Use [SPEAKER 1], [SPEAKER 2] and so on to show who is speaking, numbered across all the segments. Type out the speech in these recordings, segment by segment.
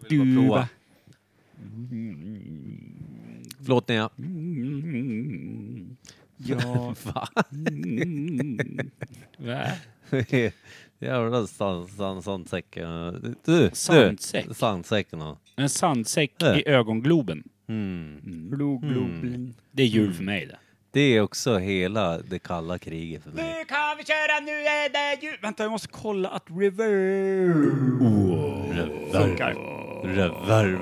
[SPEAKER 1] Vill du bara prova.
[SPEAKER 2] Förlåt Nea.
[SPEAKER 3] Mm.
[SPEAKER 1] Ja.
[SPEAKER 2] Va?
[SPEAKER 1] Va?
[SPEAKER 2] Jävla sand- sand- sandsäcken. Du,
[SPEAKER 1] Sandsäck.
[SPEAKER 2] du. Sandsäcken. ja.
[SPEAKER 1] En sandsäck
[SPEAKER 2] Äh.
[SPEAKER 1] i ögongloben.
[SPEAKER 2] Mm.
[SPEAKER 4] Blod, blod, blod.
[SPEAKER 1] Det är jul för mig det.
[SPEAKER 2] Det är också hela det kalla kriget för mig.
[SPEAKER 1] kan vi köra, nu är det jul! Vänta, jag måste kolla att reverb...
[SPEAKER 2] Reverb.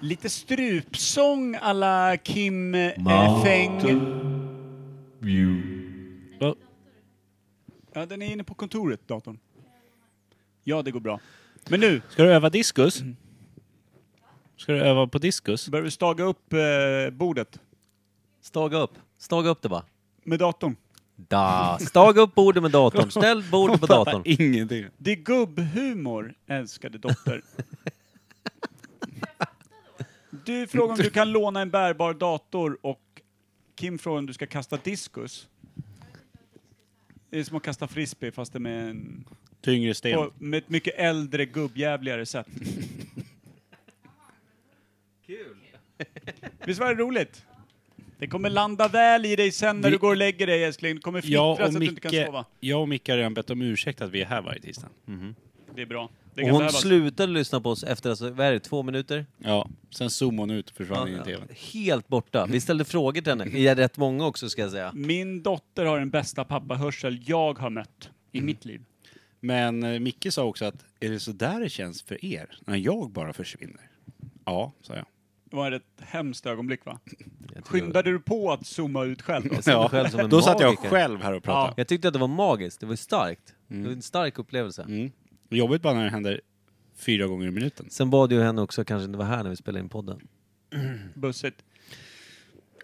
[SPEAKER 1] Lite strupsång alla Kim eh, Feng. Va? Ja, den är inne på kontoret, datorn. Ja, det går bra. Men nu
[SPEAKER 3] Ska du öva diskus?
[SPEAKER 1] Mm.
[SPEAKER 3] Ska du öva på diskus?
[SPEAKER 1] börjar vi staga upp eh, bordet
[SPEAKER 2] Staga upp. Staga upp det bara.
[SPEAKER 1] med datorn.
[SPEAKER 2] Da. Staga upp bordet med datorn. Ställ bordet på datorn.
[SPEAKER 3] Ingenting.
[SPEAKER 1] Det är gubbhumor, älskade dotter. Du frågar om du kan låna en bärbar dator och Kim frågar om du ska kasta diskus. Det är som att kasta frisbee fast det är med, en,
[SPEAKER 3] Tyngre sten.
[SPEAKER 1] på, med ett mycket äldre, gubbjävligare sätt. Kul! Visst var det roligt? Det kommer landa väl i dig sen när
[SPEAKER 3] Vi-
[SPEAKER 1] du går och lägger dig älskling. Det kommer
[SPEAKER 3] Jag
[SPEAKER 1] fnittra
[SPEAKER 3] och,
[SPEAKER 1] så att du inte
[SPEAKER 3] Micke,
[SPEAKER 1] kan sova.
[SPEAKER 3] jag och Micke har redan bett om ursäkt att vi är här varje tisdag.
[SPEAKER 2] Mm.
[SPEAKER 1] Det är bra. Det
[SPEAKER 2] Och
[SPEAKER 1] kan
[SPEAKER 2] hon
[SPEAKER 1] behövas.
[SPEAKER 2] slutade lyssna på oss efter, alltså, vad är det, två minuter?
[SPEAKER 3] Ja, sen zoomade hon ut och försvann in i
[SPEAKER 2] Ja,
[SPEAKER 3] tvn.
[SPEAKER 2] Helt borta. Vi ställde frågor till henne. Vi är rätt många också ska jag säga.
[SPEAKER 1] Min dotter har den bästa pappahörsel jag har mött i mitt liv.
[SPEAKER 3] Men eh, Micke sa också att, är det så där det känns för er? När jag bara försvinner? Ja, sa jag.
[SPEAKER 1] Det var ett hemskt ögonblick va? Skyndade du på att zooma ut själv? alltså? då?
[SPEAKER 2] Jag satt själv som en
[SPEAKER 3] Då satt jag
[SPEAKER 2] magiker.
[SPEAKER 3] själv här och pratade.
[SPEAKER 2] Jag tyckte att det var magiskt. Det var starkt. Det var en stark upplevelse.
[SPEAKER 3] Mm. Jobbigt bara när det händer fyra gånger i minuten.
[SPEAKER 2] Sen bad ju henne också kanske inte vara här när vi spelade in podden.
[SPEAKER 1] Bussigt.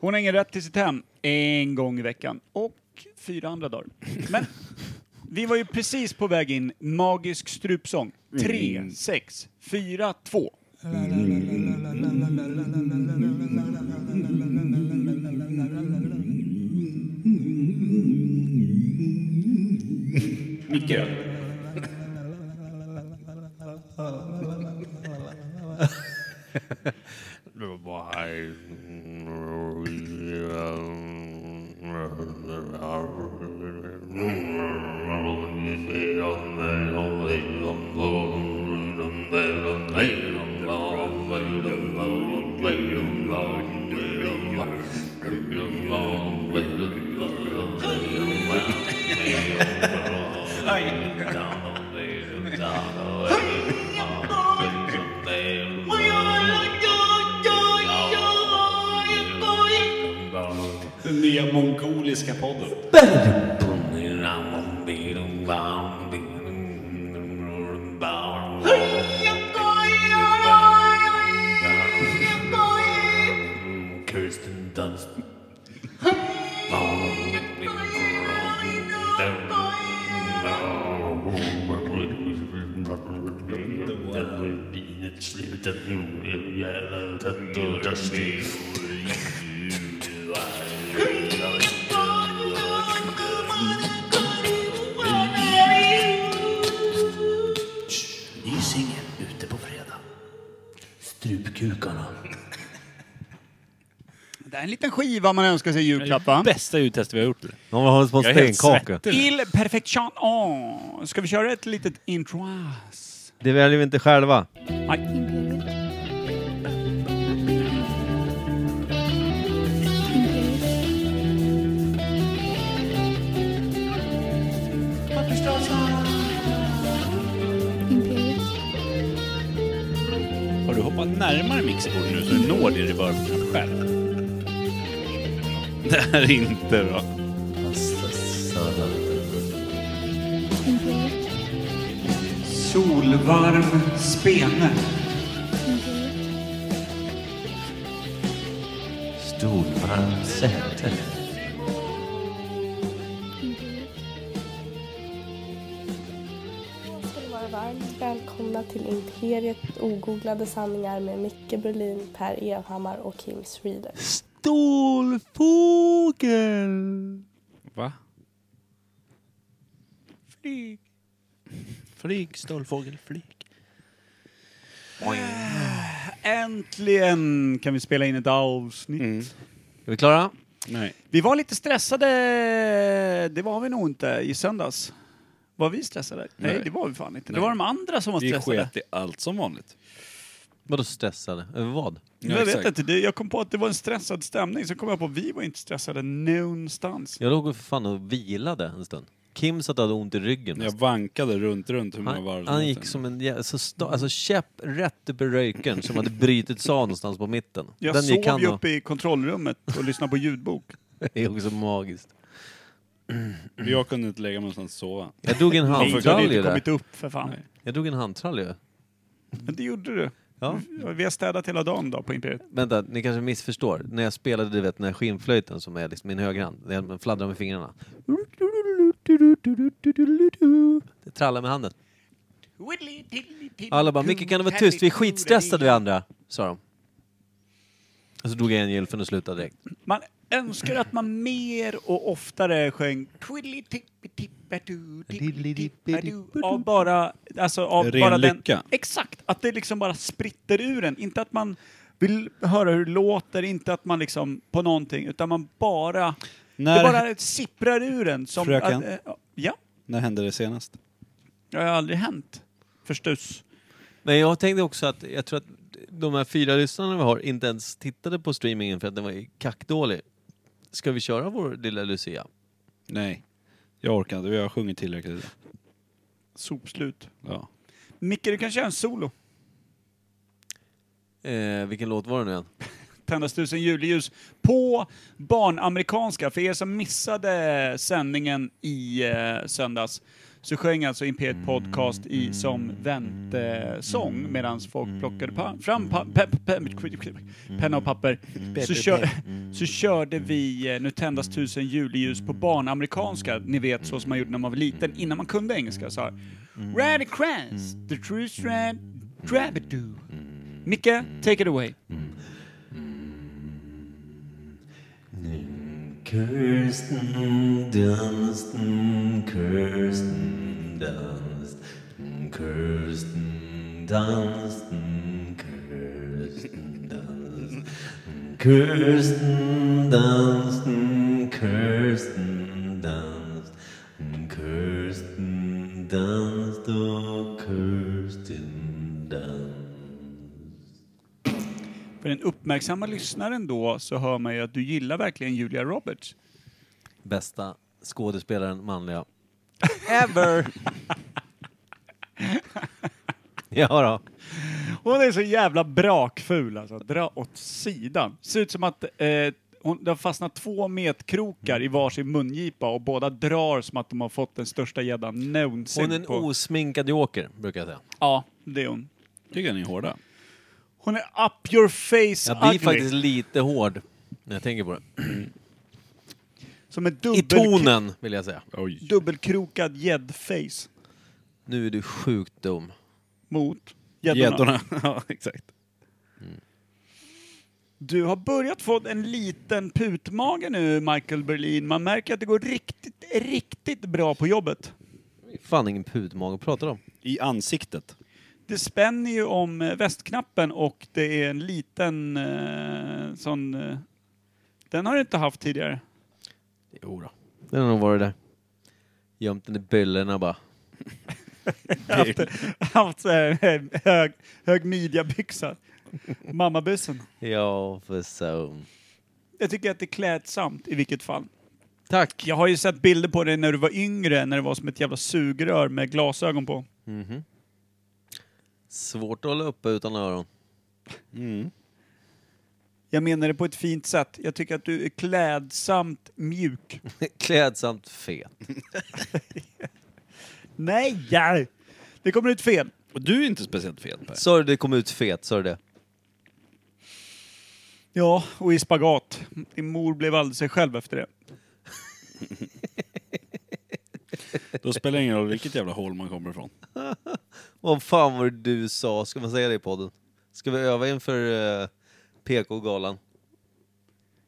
[SPEAKER 1] Hon har ingen rätt till sitt hem en gång i veckan och fyra andra dagar. Men vi var ju precis på väg in magisk strupsång. Tre, sex, fyra, två. Micke.
[SPEAKER 3] Den nya mongoliska podden.
[SPEAKER 5] Kirsten Dunst. Ny singel ute på fredag. Strupkukarna.
[SPEAKER 1] Det här är en liten skiva man önskar sig i julklapp va?
[SPEAKER 3] Bästa ljudtest vi har gjort.
[SPEAKER 2] Någon har på en
[SPEAKER 3] Jag är helt
[SPEAKER 2] stenkaka.
[SPEAKER 3] svettig.
[SPEAKER 1] Il perfection. Oh. Ska vi köra ett litet intro?
[SPEAKER 2] Det väljer vi inte själva.
[SPEAKER 1] Nej.
[SPEAKER 3] Har du hoppat närmare mixerbordet nu så du når din reverbknapp själv? Det här är inte bra.
[SPEAKER 1] Solvarm spene.
[SPEAKER 5] Storvarmt säte.
[SPEAKER 6] ska ni vara varmt välkomna till Imperiet ogooglade sanningar med Micke Berlin, Per Evhammar och Kim Schreeder.
[SPEAKER 2] Stålfågel!
[SPEAKER 3] Va?
[SPEAKER 1] Flyg.
[SPEAKER 3] Flyg, stålfågel, flyg.
[SPEAKER 1] Äntligen kan vi spela in ett avsnitt.
[SPEAKER 2] Är vi klara?
[SPEAKER 3] Nej.
[SPEAKER 1] Vi var lite stressade, det var vi nog inte, i söndags. Var vi stressade? Nej, det var vi fan inte. Det var de andra som var
[SPEAKER 3] Vi
[SPEAKER 1] stressade.
[SPEAKER 3] sket i allt som vanligt.
[SPEAKER 2] Vadå stressade? Över vad?
[SPEAKER 3] Ja,
[SPEAKER 1] jag vet
[SPEAKER 3] exakt.
[SPEAKER 1] inte, det, jag kom på att det var en stressad stämning, så kom jag på att vi var inte stressade någonstans.
[SPEAKER 2] Jag låg för fan och vilade en stund. Kim satt och hade ont i ryggen.
[SPEAKER 3] Jag vankade runt, runt hur många
[SPEAKER 2] Han,
[SPEAKER 3] varv
[SPEAKER 2] han gick som en jä- så sta, alltså käpp rätt upp i röjken som hade brutits av någonstans på mitten.
[SPEAKER 1] Jag
[SPEAKER 2] Den gick
[SPEAKER 1] sov
[SPEAKER 2] han
[SPEAKER 1] ju
[SPEAKER 2] och-
[SPEAKER 1] uppe i kontrollrummet och lyssnade på ljudbok.
[SPEAKER 2] Det är också magiskt.
[SPEAKER 3] Jag kunde inte lägga mig någonstans och sova.
[SPEAKER 2] Jag drog en
[SPEAKER 1] Nej, du hade
[SPEAKER 2] handtrall ju
[SPEAKER 1] inte
[SPEAKER 2] där.
[SPEAKER 1] kommit upp för fan.
[SPEAKER 2] Jag drog en handtrall ju.
[SPEAKER 1] Men det gjorde du.
[SPEAKER 2] Ja.
[SPEAKER 1] Vi har städat hela dagen då på Imperiet.
[SPEAKER 2] Vänta, ni kanske missförstår. När jag spelade du vet, den här skinnflöjten som är liksom min högerhand, när jag fladdrar med fingrarna. Det trallar med handen. Alla bara, Micke kan du vara tyst? Vi är skitstressade vi andra, sa de. Och så drog jag en gylfen och slutade direkt.
[SPEAKER 1] Man önskar att man mer och oftare sjöng av bara, alltså av
[SPEAKER 3] Ren
[SPEAKER 1] bara den,
[SPEAKER 3] lycka.
[SPEAKER 1] exakt, att det liksom bara spritter ur en. Inte att man vill höra hur det låter, inte att man liksom på någonting, utan man bara,
[SPEAKER 3] När-
[SPEAKER 1] det bara sipprar ur en. Som
[SPEAKER 3] Fröken?
[SPEAKER 1] Att, eh, ja,
[SPEAKER 3] När hände det senast?
[SPEAKER 1] det har aldrig hänt. Förstås.
[SPEAKER 2] Men jag tänkte också att jag tror att de här fyra lyssnarna vi har inte ens tittade på streamingen för att den var ju kackdålig. Ska vi köra vår lilla Lucia?
[SPEAKER 3] Nej. Jag orkar inte, jag har sjungit tillräckligt. idag.
[SPEAKER 1] Sopslut.
[SPEAKER 3] Ja.
[SPEAKER 1] Micke, du kan köra en solo.
[SPEAKER 2] Eh, vilken låt var det nu igen?
[SPEAKER 1] tändas tusen juleljus på barnamerikanska. För er som missade sändningen i eh, söndags så sjöng alltså Imperiet Podcast i som väntesång medan folk plockade pa- fram pa- pe- pe- pe- penna och papper. Så, kör, så körde vi eh, Nu tändas tusen juleljus på barnamerikanska, ni vet så som man gjorde när man var liten innan man kunde engelska. Så här. Red Crans, the true strand, Drabidoo. Micke, take it away.
[SPEAKER 5] Kirsten Dunst, Kirsten Dunst, Kirsten Dunst, Kirsten Dunst, Kirsten Dunst, Kirsten Dunst, Kirsten Dunst och Kirsten Dunst.
[SPEAKER 1] För den uppmärksamma lyssnaren då så hör man ju att du gillar verkligen Julia Roberts.
[SPEAKER 2] Bästa skådespelaren manliga. Ever! ja då.
[SPEAKER 1] Hon är så jävla brakful alltså. Dra åt sidan. Ser ut som att eh, hon, det har fastnat två metkrokar i varsin mungipa och båda drar som att de har fått den största gäddan någonsin.
[SPEAKER 2] Hon är en
[SPEAKER 1] på.
[SPEAKER 2] osminkad joker, brukar jag säga.
[SPEAKER 1] ja, det är hon.
[SPEAKER 3] Tycker ni är hårda?
[SPEAKER 1] Hon är up your face
[SPEAKER 2] Jag blir
[SPEAKER 1] ugly.
[SPEAKER 2] faktiskt lite hård när jag tänker på det.
[SPEAKER 1] Som en
[SPEAKER 2] I
[SPEAKER 1] dubbel,
[SPEAKER 2] tonen, vill jag säga.
[SPEAKER 3] Oj.
[SPEAKER 1] dubbelkrokad gäddface
[SPEAKER 2] Nu är du sjukt dum.
[SPEAKER 1] mot gäddorna.
[SPEAKER 3] Gäddorna. ja, exakt.
[SPEAKER 1] Du har börjat få en liten putmage nu, Michael Berlin. Man märker att det går riktigt, riktigt bra på jobbet.
[SPEAKER 2] Fan ingen pudmage att prata om.
[SPEAKER 3] I ansiktet.
[SPEAKER 1] Det spänner ju om eh, västknappen och det är en liten eh, sån... Eh, den har du inte haft tidigare.
[SPEAKER 2] Jo då. Den har nog varit där. Gömt den i byllorna bara.
[SPEAKER 1] Jag har haft, haft så här, eh, hög, hög midjabyxa. Mammabussen.
[SPEAKER 2] Ja, för så.
[SPEAKER 1] Jag tycker att det är klädsamt i vilket fall.
[SPEAKER 2] Tack!
[SPEAKER 1] Jag har ju sett bilder på dig när du var yngre, när det var som ett jävla sugrör med glasögon på.
[SPEAKER 2] Svårt att hålla uppe utan öron.
[SPEAKER 1] Jag menar det på ett fint sätt. Jag tycker att du är klädsamt mjuk.
[SPEAKER 2] Klädsamt fet.
[SPEAKER 1] Nej! ja. Det kommer ut fel.
[SPEAKER 3] Och du är inte speciellt fet Per.
[SPEAKER 2] Sa du det kom ut fet? Sa du det?
[SPEAKER 1] Ja, och i spagat. Din mor blev aldrig sig själv efter det.
[SPEAKER 3] Då spelar det ingen roll vilket jävla hål man kommer ifrån.
[SPEAKER 2] Vad fan var det du sa? Ska man säga det i podden? Ska vi öva inför uh, PK-galan?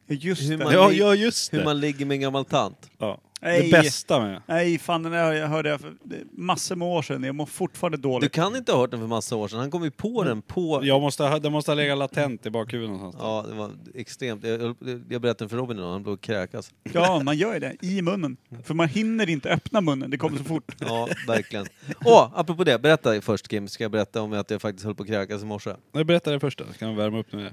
[SPEAKER 1] Just
[SPEAKER 2] Hur
[SPEAKER 1] det.
[SPEAKER 2] man-
[SPEAKER 1] Ja.
[SPEAKER 3] ja, just
[SPEAKER 2] Hur man ligger med en gammal tant?
[SPEAKER 3] Ja.
[SPEAKER 1] Nej.
[SPEAKER 3] Det bästa med...
[SPEAKER 1] Nej, fan den där jag hörde jag för det är massor med år sedan. Jag mår fortfarande
[SPEAKER 2] Du
[SPEAKER 1] dåligt.
[SPEAKER 2] kan inte ha hört den för massa år sedan. Han kom ju på den på...
[SPEAKER 3] Jag måste, ha- den måste ha legat latent i bakhuvudet någonstans.
[SPEAKER 2] Ja, det var extremt. Jag, jag- jag berättade för Robin idag, han blev kräkas.
[SPEAKER 1] Ja, man gör ju det. I munnen. För man hinner inte öppna munnen, det kommer så fort.
[SPEAKER 2] Mm. Ja, verkligen. Åh, apropå det, berätta först Kim, ska jag berätta om att jag faktiskt höll på att kräkas i morse.
[SPEAKER 3] Jag berättar det först då, så kan vi värma upp nu.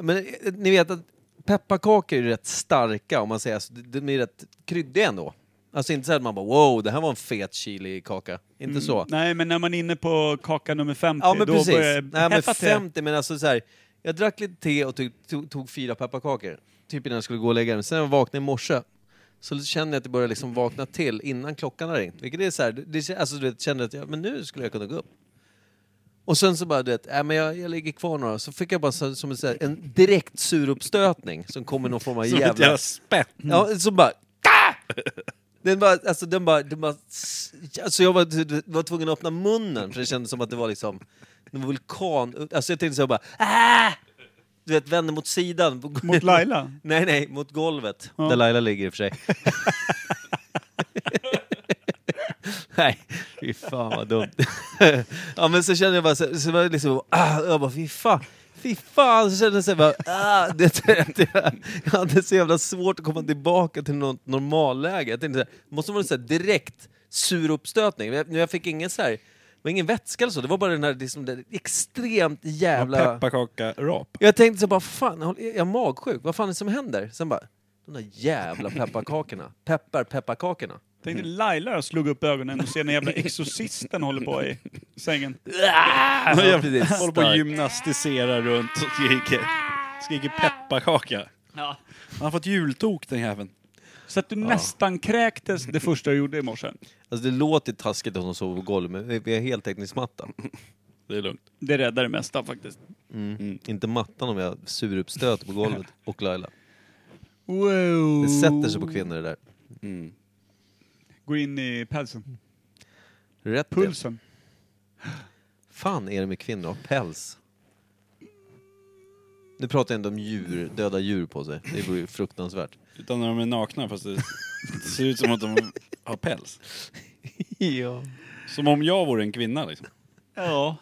[SPEAKER 2] Men eh, ni vet att pepparkakor är ju rätt starka om man säger så. De- De är rätt kryddiga ändå. Alltså inte så att man bara wow, det här var en fet chilikaka. Inte så.
[SPEAKER 1] Nej, men när man är inne på kaka nummer 50,
[SPEAKER 2] Ja men
[SPEAKER 1] då
[SPEAKER 2] precis.
[SPEAKER 1] börjar
[SPEAKER 2] Nej men
[SPEAKER 1] hetta till.
[SPEAKER 2] 50, men alltså så här. Jag drack lite te och tog, tog, tog fyra pepparkakor. Typ innan jag skulle gå och lägga mig. Sen när jag vaknade i morse så kände jag att det började liksom vakna till innan klockan hade ringt. Vilket är så här, det, det- alltså du vet, kände att jag, men nu skulle jag kunna gå upp. Och sen så bara, du vet, äh, men jag, jag ligger kvar några. Så fick jag bara så, som en, så här, en direkt suruppstötning som kommer någon form av
[SPEAKER 3] Som ett
[SPEAKER 2] jävla...
[SPEAKER 3] jävla spett!
[SPEAKER 2] Ja, så bara... "Ah!" Den bara, alltså den bara, den bara alltså jag var, var tvungen att öppna munnen för det kändes som att det var liksom en vulkan. Alltså jag tänkte så här bara, ah! Du vet, vände mot sidan.
[SPEAKER 1] Mot Laila?
[SPEAKER 2] nej, nej, mot golvet. Där Laila ligger i och för sig. nej, fy fan vad dumt. ja men så kände jag bara, så, så var det liksom, ah, jag bara fy fan. Fy fan, så kände jag såhär bara, ah, det, det, det, jag hade så jävla svårt att komma tillbaka till något normalläge. Jag tänkte såhär, måste vara en såhär direkt suruppstötning. Men Jag, jag fick ingen såhär, det var ingen vätska eller så, det var bara den här liksom, den extremt jävla...
[SPEAKER 3] Pepparkaka-rap.
[SPEAKER 2] Jag tänkte så bara, fan, håll- är jag magsjuk? Vad fan är det som händer? Sen bara, de där jävla pepparkakorna. Peppar pepparkakorna.
[SPEAKER 1] Tänk dig Laila slog upp ögonen och ser när jävla exorcisten håller på i sängen.
[SPEAKER 2] Ja, precis.
[SPEAKER 3] Håller på och gymnastiserar runt och skriker. Skriker pepparkaka. Han har fått jultok den jäveln.
[SPEAKER 1] Så att du nästan kräktes det första du gjorde i morse.
[SPEAKER 2] Alltså det låter taskigt att hon sover på golvet, men vi har heltäckningsmatta.
[SPEAKER 3] Det är lugnt.
[SPEAKER 1] Det räddar det mesta faktiskt.
[SPEAKER 2] Inte mattan om jag suruppstöter på golvet och Laila.
[SPEAKER 1] Wow.
[SPEAKER 2] Det sätter sig på kvinnor det där.
[SPEAKER 1] Går in i pälsen.
[SPEAKER 2] Rätt Puls.
[SPEAKER 1] Pulsen.
[SPEAKER 2] Fan är det med kvinnor och päls? Nu pratar jag inte om djur, döda djur på sig. Det vore ju fruktansvärt.
[SPEAKER 3] Utan när de är nakna fast det ser ut som att de har päls.
[SPEAKER 2] Ja.
[SPEAKER 3] Som om jag vore en kvinna liksom.
[SPEAKER 1] Ja.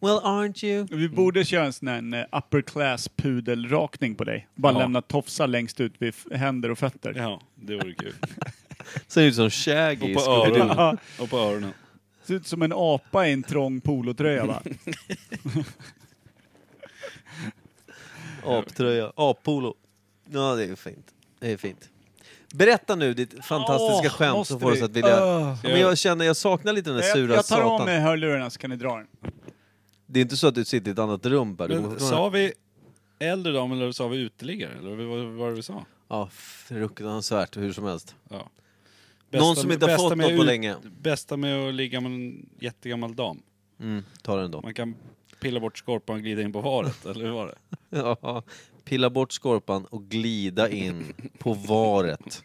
[SPEAKER 2] Well aren't you?
[SPEAKER 1] Vi borde köra en sån här eh, upper class pudelrakning på dig. Bara lämna tofsar längst ut vid f- händer och fötter.
[SPEAKER 3] Ja, det vore kul.
[SPEAKER 2] Ser ut som Shaggy
[SPEAKER 3] Och
[SPEAKER 2] i
[SPEAKER 3] på
[SPEAKER 2] Scooby-Doo.
[SPEAKER 3] öronen.
[SPEAKER 1] Ja,
[SPEAKER 3] Och på öronen.
[SPEAKER 1] ser ut som en apa i en trång polotröja va?
[SPEAKER 2] Aptröja, appolo. Ja, det är fint. Det är fint. Berätta nu ditt fantastiska
[SPEAKER 1] Åh,
[SPEAKER 2] skämt
[SPEAKER 1] måste
[SPEAKER 2] som får oss
[SPEAKER 1] vi?
[SPEAKER 2] att vilja...
[SPEAKER 1] Åh.
[SPEAKER 2] Ja, men jag känner, jag saknar lite den där
[SPEAKER 1] Jag,
[SPEAKER 2] sura
[SPEAKER 1] jag tar av
[SPEAKER 2] satan.
[SPEAKER 1] mig hörlurarna så kan ni dra den.
[SPEAKER 2] Det är inte så att du sitter i ett annat rum bara. Du går
[SPEAKER 3] Men
[SPEAKER 2] från-
[SPEAKER 3] sa vi äldre dam eller sa vi uteliggare? Eller vad vad var det vi sa?
[SPEAKER 2] Ja, fruktansvärt hur som helst.
[SPEAKER 3] Ja.
[SPEAKER 2] Någon som inte har
[SPEAKER 3] bästa
[SPEAKER 2] fått
[SPEAKER 3] med
[SPEAKER 2] något på
[SPEAKER 3] ut-
[SPEAKER 2] länge.
[SPEAKER 3] Bästa med att ligga med en jättegammal dam.
[SPEAKER 2] Mm, ta den då.
[SPEAKER 3] Man kan pilla bort skorpan och glida in på varet, eller hur var det?
[SPEAKER 2] Ja, pilla bort skorpan och glida in på varet.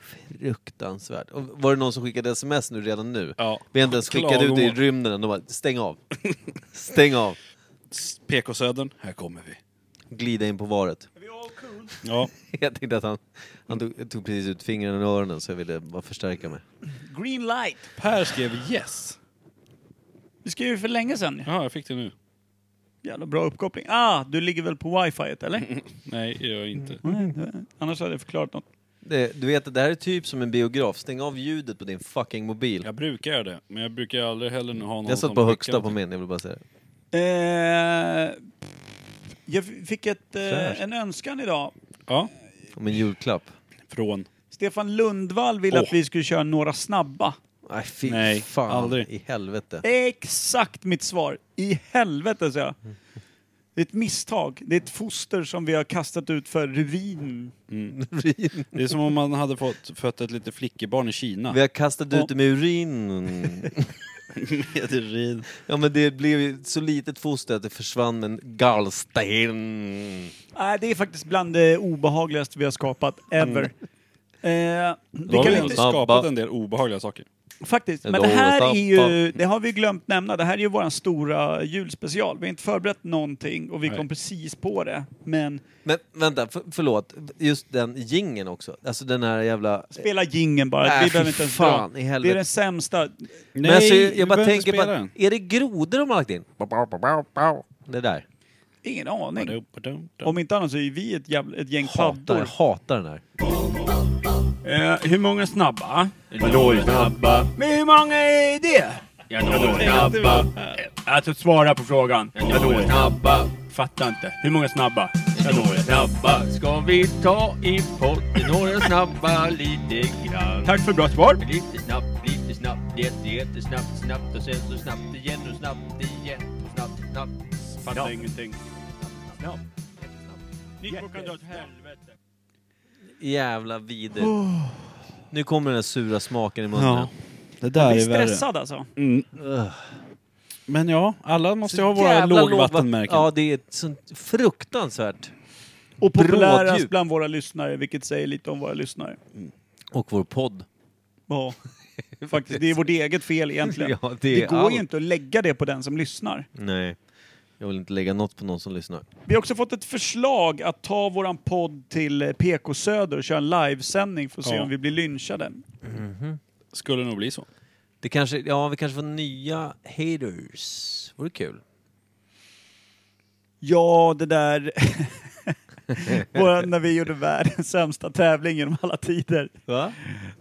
[SPEAKER 2] Fruktansvärt. Och var det någon som skickade sms nu redan nu?
[SPEAKER 3] Ja.
[SPEAKER 2] Vi har inte ens skickat ut det i
[SPEAKER 3] Klagomål.
[SPEAKER 2] rymden än. De bara, stäng av. Stäng av.
[SPEAKER 3] PK-södern, här kommer vi.
[SPEAKER 2] Glida in på varet.
[SPEAKER 3] Ja.
[SPEAKER 2] Jag tänkte att han, han tog, tog precis ut fingrarna i öronen så jag ville bara förstärka mig.
[SPEAKER 1] Green light!
[SPEAKER 3] Per skrev yes.
[SPEAKER 1] Vi skrev ju för länge sedan.
[SPEAKER 3] Ja, jag fick det nu.
[SPEAKER 1] Jävla bra uppkoppling. Ah, du ligger väl på wifi eller?
[SPEAKER 3] Nej, det gör jag inte.
[SPEAKER 1] Annars hade jag förklarat något.
[SPEAKER 2] Det, du vet, det här är typ som en biograf. Stäng av ljudet på din fucking mobil.
[SPEAKER 3] Jag brukar göra det, men jag brukar aldrig heller ha någon
[SPEAKER 2] jag satt
[SPEAKER 3] som
[SPEAKER 2] på
[SPEAKER 3] skickar
[SPEAKER 2] högsta på
[SPEAKER 3] någonting.
[SPEAKER 2] min, jag vill bara säga det.
[SPEAKER 1] Eh, jag fick ett,
[SPEAKER 2] Fräscht.
[SPEAKER 1] eh, en önskan idag.
[SPEAKER 3] Ja,
[SPEAKER 2] Om en julklapp.
[SPEAKER 3] från.
[SPEAKER 1] Stefan Lundvall ville
[SPEAKER 3] Åh.
[SPEAKER 1] att vi skulle köra några snabba.
[SPEAKER 2] Nej, fy
[SPEAKER 3] Nej,
[SPEAKER 2] fan
[SPEAKER 3] aldrig.
[SPEAKER 2] i helvete.
[SPEAKER 1] Exakt mitt svar. I helvete säger jag. Det är ett misstag. Det är ett foster som vi har kastat ut för ruin.
[SPEAKER 3] Det är som om man hade fått fött ett litet flickebarn i Kina.
[SPEAKER 2] Vi har kastat ut det med urin.
[SPEAKER 3] Med urin.
[SPEAKER 2] Ja men det blev ju så litet foster att det försvann med en gallsten.
[SPEAKER 1] Nej, det är faktiskt bland det obehagligaste vi har skapat ever. Eh,
[SPEAKER 3] Då
[SPEAKER 1] det
[SPEAKER 3] har
[SPEAKER 1] kan
[SPEAKER 3] vi
[SPEAKER 1] vi
[SPEAKER 3] ändå
[SPEAKER 1] inte...
[SPEAKER 2] Snabba.
[SPEAKER 3] skapat en del obehagliga saker.
[SPEAKER 1] Faktiskt.
[SPEAKER 2] Ja,
[SPEAKER 1] Men det här
[SPEAKER 2] då-
[SPEAKER 1] är ju, det har vi glömt nämna, det här är ju våran stora julspecial. Vi har inte förberett någonting och vi kom precis på det. Men
[SPEAKER 2] Men vänta, för, förlåt. Just den gingen också. Alltså den här jävla...
[SPEAKER 1] spela gingen bara,
[SPEAKER 2] Äh,
[SPEAKER 1] vi behöver
[SPEAKER 2] fy
[SPEAKER 1] inte ens
[SPEAKER 2] fan
[SPEAKER 1] dra.
[SPEAKER 2] i
[SPEAKER 1] Det
[SPEAKER 2] helvete.
[SPEAKER 1] är den sämsta.
[SPEAKER 2] Men alltså, jag,
[SPEAKER 3] du
[SPEAKER 2] jag bara
[SPEAKER 3] behöver
[SPEAKER 2] tänker
[SPEAKER 3] inte
[SPEAKER 2] på
[SPEAKER 3] spela
[SPEAKER 2] att, är det grodor de har lagt in? Bow, bow, bow, bow, bow. Det där.
[SPEAKER 1] Ingen aning.
[SPEAKER 3] den.
[SPEAKER 1] Om inte annat så är vi ett, jävla, ett gäng
[SPEAKER 2] Hatar,
[SPEAKER 1] paddor.
[SPEAKER 2] hatar den här.
[SPEAKER 4] Eh, hur många snabba? Vadå snabba? Men hur många är det? Vadå snabba? Alltså svara på frågan. Vadå snabba? Fattar inte. Hur många snabba? Vadå snabba? Ska vi ta i potten några snabba lite grann? Tack för bra svar. Lite snabbt, lite snabbt, jätte, jättesnabbt, snabbt och sen så snabbt igen och snabbt igen. Snabbt, snabbt. Fattar ingenting. Niko kan dra åt helvete.
[SPEAKER 2] Jävla vidrigt. Nu kommer den här sura smaken i munnen.
[SPEAKER 3] Ja. Det
[SPEAKER 1] Vi
[SPEAKER 3] där
[SPEAKER 1] är
[SPEAKER 3] är värre.
[SPEAKER 1] stressade alltså.
[SPEAKER 3] Men ja, alla måste ju ha
[SPEAKER 2] Så
[SPEAKER 3] våra
[SPEAKER 2] jävla
[SPEAKER 3] lågvattenmärken.
[SPEAKER 2] Ja, det är ett sånt fruktansvärt.
[SPEAKER 1] Och populärast
[SPEAKER 2] Bråddjup.
[SPEAKER 1] bland våra lyssnare, vilket säger lite om våra lyssnare.
[SPEAKER 2] Och vår podd.
[SPEAKER 1] Ja, faktiskt. Det är vårt eget fel egentligen.
[SPEAKER 2] Ja, det
[SPEAKER 1] det,
[SPEAKER 2] är
[SPEAKER 1] går
[SPEAKER 2] allt.
[SPEAKER 1] ju inte att lägga det på den som lyssnar.
[SPEAKER 2] Nej. Jag vill inte lägga något på någon som lyssnar.
[SPEAKER 1] Vi har också fått ett förslag att ta våran podd till eh, PK Söder och köra en livesändning för att se
[SPEAKER 3] Ja.
[SPEAKER 1] om vi blir lynchade.
[SPEAKER 3] Skulle nog bli så.
[SPEAKER 2] Det kanske, ja, vi kanske får nya haters. Vore kul.
[SPEAKER 1] Ja, det där... Våra, när vi gjorde världens sämsta tävling genom alla tider.
[SPEAKER 2] Va?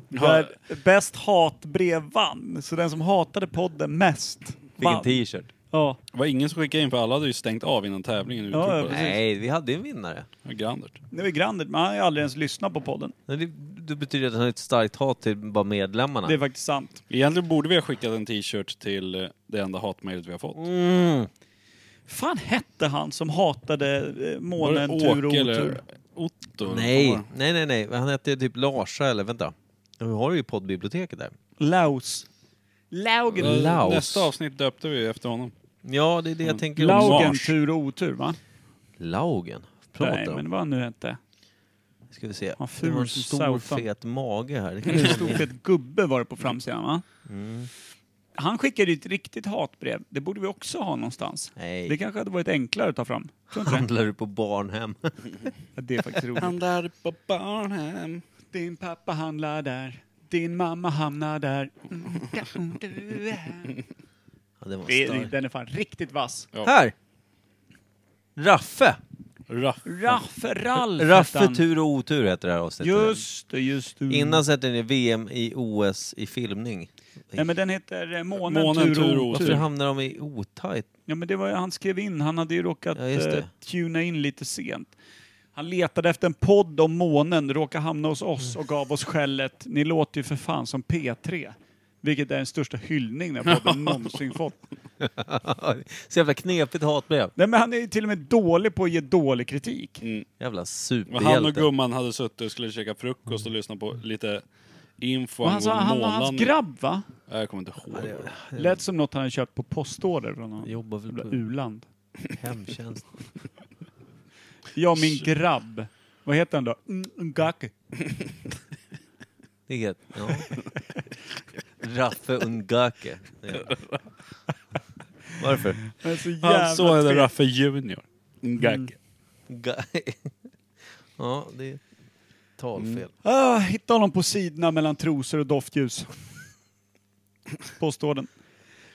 [SPEAKER 1] Där bäst hatbrev vann. Så den som hatade podden mest
[SPEAKER 2] Fick en
[SPEAKER 1] vann.
[SPEAKER 2] t-shirt.
[SPEAKER 1] Ja.
[SPEAKER 3] Det var ingen som skickade in för alla hade ju stängt av innan tävlingen.
[SPEAKER 1] Ja,
[SPEAKER 3] Ja,
[SPEAKER 1] precis.
[SPEAKER 3] det.
[SPEAKER 2] Nej, vi hade ju en vinnare.
[SPEAKER 3] var Grandert.
[SPEAKER 1] Nu är Grandert, men han har ju aldrig ens lyssnat på podden.
[SPEAKER 2] Men Det, det betyder att han har ett starkt hat till bara medlemmarna.
[SPEAKER 1] Det är faktiskt sant.
[SPEAKER 3] Egentligen borde vi ha skickat en t-shirt till eh, det enda hatmejlet vi har fått.
[SPEAKER 2] Mm.
[SPEAKER 1] fan hette han som hatade eh,
[SPEAKER 3] Var det
[SPEAKER 1] månen, tur och
[SPEAKER 3] Åke
[SPEAKER 1] otur?
[SPEAKER 3] eller Otto? eller vad
[SPEAKER 2] Nej,
[SPEAKER 3] var det?
[SPEAKER 2] nej, nej, nej. Han hette ju typ Larsa eller vänta. Vi har ju poddbiblioteket där.
[SPEAKER 1] Laus. Laugen.
[SPEAKER 2] Laugen. Laos.
[SPEAKER 3] Nästa avsnitt döpte vi efter honom.
[SPEAKER 2] Ja, det är det jag tänker
[SPEAKER 1] Laugen,
[SPEAKER 2] Mars.
[SPEAKER 1] tur och otur va?
[SPEAKER 2] Laugen.
[SPEAKER 1] Nej,
[SPEAKER 2] Pratar
[SPEAKER 1] men
[SPEAKER 2] om.
[SPEAKER 1] vad han nu hette.
[SPEAKER 2] Ska vi se.
[SPEAKER 1] Vad
[SPEAKER 2] Det
[SPEAKER 1] ful
[SPEAKER 2] var en
[SPEAKER 1] som
[SPEAKER 2] stor
[SPEAKER 1] sautan.
[SPEAKER 2] fet mage här. Det kan
[SPEAKER 1] En
[SPEAKER 2] ju
[SPEAKER 1] stor
[SPEAKER 2] vara
[SPEAKER 1] fet gubbe var det på framsidan va? Han skickade ju ett riktigt hatbrev. Det borde vi också ha någonstans.
[SPEAKER 2] Nej.
[SPEAKER 1] Det kanske hade varit enklare att ta fram. Tror inte det?
[SPEAKER 2] Handlar du på barnhem?
[SPEAKER 1] det är faktiskt roligt.
[SPEAKER 3] där på barnhem.
[SPEAKER 1] Din pappa handlar där. Din mamma hamnar där.
[SPEAKER 2] Ja, det var
[SPEAKER 1] Det,
[SPEAKER 2] starkt.
[SPEAKER 1] den är fan riktigt vass.
[SPEAKER 2] Här! Raffe!
[SPEAKER 3] Raff.
[SPEAKER 1] Raffe Ralf hette
[SPEAKER 2] Raffe
[SPEAKER 1] han.
[SPEAKER 2] tur och otur heter det här avsnittet.
[SPEAKER 1] Just det, just det.
[SPEAKER 2] Innan satte ni VM i OS i filmning.
[SPEAKER 1] Nej men den heter eh, Månen,
[SPEAKER 3] Månen,
[SPEAKER 1] tur och
[SPEAKER 3] tur och
[SPEAKER 1] otur.
[SPEAKER 2] Varför hamnar de i otajt?
[SPEAKER 1] Ja men det var ju, han skrev in, han hade ju råkat
[SPEAKER 2] Ja, just det.
[SPEAKER 1] eh, tuna in lite sent. Han letade efter en podd om månen, råkade hamna hos oss och gav oss skället Ni låter ju för fan som P3. Vilket är den största hyllning den här podden någonsin fått.
[SPEAKER 2] Så jävla knepigt hatbrev.
[SPEAKER 1] Nej men han är ju till och med dålig på att ge dålig kritik.
[SPEAKER 3] Mm.
[SPEAKER 2] Jävla
[SPEAKER 3] Och Han och
[SPEAKER 2] superhjälte.
[SPEAKER 3] gumman hade suttit och skulle käka frukost och lyssna på lite info
[SPEAKER 1] Och han sa,
[SPEAKER 3] angående
[SPEAKER 1] han var hans
[SPEAKER 3] månlandningen.
[SPEAKER 1] grabb va?
[SPEAKER 3] Ja, Jag kommer inte ihåg.
[SPEAKER 1] Lät som något han hade köpt på postorder från någon
[SPEAKER 2] Jobbar väl
[SPEAKER 1] jävla
[SPEAKER 2] på
[SPEAKER 1] u-land.
[SPEAKER 2] hemtjänst.
[SPEAKER 1] Ja min grabb. Vad heter han då? Mm, Ngaki.
[SPEAKER 2] Det är helt... Ja. Raffe Ungake. Ja. Varför?
[SPEAKER 1] Men så jävla
[SPEAKER 3] Han såg en
[SPEAKER 1] fet.
[SPEAKER 3] Raffe Junior.
[SPEAKER 2] Ga- Ja, det
[SPEAKER 3] Mm.
[SPEAKER 2] är talfel.
[SPEAKER 1] Ah, hitta honom på sidorna mellan trosor och doftljus. Påstår den.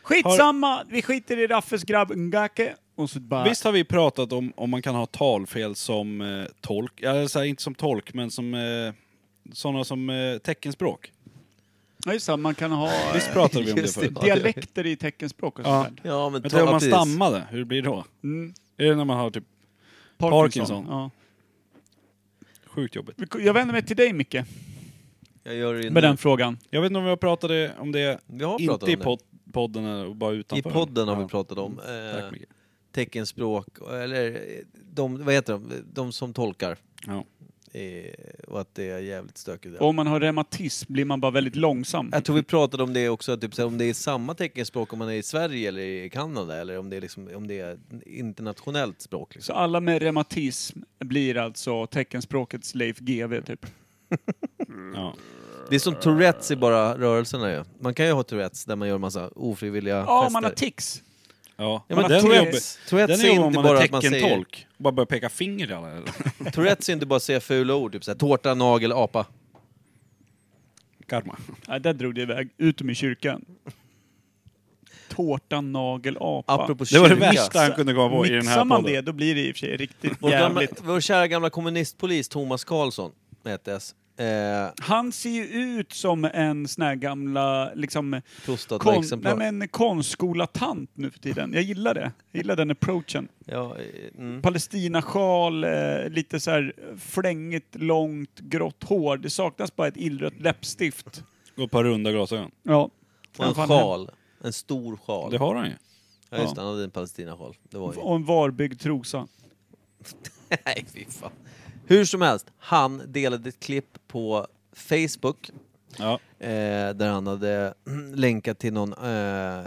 [SPEAKER 1] Skitsamma, vi skiter i Raffes grabb Ngake. Och så bara...
[SPEAKER 3] Visst har vi pratat om om man kan ha talfel som eh, tolk, eller så här, inte som tolk men som eh, sådana som eh, teckenspråk.
[SPEAKER 1] Ja, just det, man kan ha eh,
[SPEAKER 3] Visst pratade vi om det
[SPEAKER 2] Just det.
[SPEAKER 3] förut?
[SPEAKER 1] dialekter i teckenspråk och
[SPEAKER 3] Ja.
[SPEAKER 1] sånt där.
[SPEAKER 2] Ja, men
[SPEAKER 3] Men
[SPEAKER 2] ta,
[SPEAKER 3] tänk om man
[SPEAKER 2] precis.
[SPEAKER 3] stammade, hur blir det då?
[SPEAKER 1] Mm.
[SPEAKER 3] Är det när man har typ Parkinson.
[SPEAKER 1] Ja.
[SPEAKER 3] sjukt jobbigt?
[SPEAKER 1] Vi- Jag vänder mig till dig Micke
[SPEAKER 2] Jag gör det ju
[SPEAKER 1] med
[SPEAKER 2] nu.
[SPEAKER 1] den frågan.
[SPEAKER 3] Jag vet inte om vi har pratat om det,
[SPEAKER 2] Vi har pratat
[SPEAKER 3] inte i
[SPEAKER 2] om det.
[SPEAKER 3] pod- podden eller bara
[SPEAKER 2] I
[SPEAKER 3] utanför.
[SPEAKER 2] podden har vi
[SPEAKER 3] Ja.
[SPEAKER 2] pratat om
[SPEAKER 3] Tack
[SPEAKER 2] eh,
[SPEAKER 3] Micke.
[SPEAKER 2] teckenspråk, eller eh, de, vad heter de, de som tolkar.
[SPEAKER 3] Ja.
[SPEAKER 2] Eh, och att det är jävligt stökigt.
[SPEAKER 1] Om man har reumatism blir man bara väldigt långsam.
[SPEAKER 2] Jag tror vi pratade om det också, att typ, så här, om det är samma teckenspråk om man är i Sverige eller i Kanada eller om det är, liksom, om det är internationellt språk. Liksom.
[SPEAKER 1] Så alla med reumatism blir alltså teckenspråkets Leif GW typ.
[SPEAKER 3] Ja.
[SPEAKER 2] Det är som Tourettes i bara rörelserna ju. Man kan ju ha Tourettes där man gör massa ofrivilliga
[SPEAKER 1] Ja,
[SPEAKER 2] gester.
[SPEAKER 1] om man har tics.
[SPEAKER 3] Ja,
[SPEAKER 2] Ja,
[SPEAKER 3] men
[SPEAKER 2] men
[SPEAKER 3] den är jobbig.
[SPEAKER 2] Tourettes, Tourettes
[SPEAKER 3] Den
[SPEAKER 2] är
[SPEAKER 3] är om
[SPEAKER 2] inte
[SPEAKER 3] man har
[SPEAKER 2] bara att man säger...
[SPEAKER 3] teckentolk. Bara börjar peka finger till alla.
[SPEAKER 2] Tourettes är inte bara att säga fula ord, typ såhär tårta, nagel, apa.
[SPEAKER 3] Karma.
[SPEAKER 1] Ja, där drog det iväg. Utom i kyrkan. Tårta, nagel, apa.
[SPEAKER 2] Apropå
[SPEAKER 3] Det var det
[SPEAKER 2] kyrka.
[SPEAKER 3] värsta han kunde komma på i den
[SPEAKER 1] Mixar
[SPEAKER 3] här
[SPEAKER 1] man
[SPEAKER 3] podden.
[SPEAKER 1] det, då blir det i och för sig riktigt
[SPEAKER 2] Vår, gamla,
[SPEAKER 1] jävligt.
[SPEAKER 2] vår kära gamla kommunistpolis Thomas Karlsson, hette S. Eh,
[SPEAKER 1] Han ser ju ut som en sån här gamla, liksom, kon, nej,
[SPEAKER 2] Prostataexemplar.
[SPEAKER 1] men konstskolatant nu för tiden. Jag gillar det. Jag gillar den approachen.
[SPEAKER 2] Ja, eh, mm.
[SPEAKER 1] Palestinasjal, eh, lite så här flängigt, långt, grått hår. Det saknas bara ett illrött läppstift.
[SPEAKER 3] Och ett par runda glasögon.
[SPEAKER 1] Ja.
[SPEAKER 2] Och en
[SPEAKER 1] Fan,
[SPEAKER 2] sjal. En stor sjal.
[SPEAKER 3] Det har han ju.
[SPEAKER 2] Ja just det, han hade en palestinasjal. Det var ju...
[SPEAKER 1] Och en varbyggd trosa.
[SPEAKER 2] Nej, fy fan. Hur som helst, han delade ett klipp på Facebook
[SPEAKER 3] Ja.
[SPEAKER 2] eh, där han hade länkat till någon eh,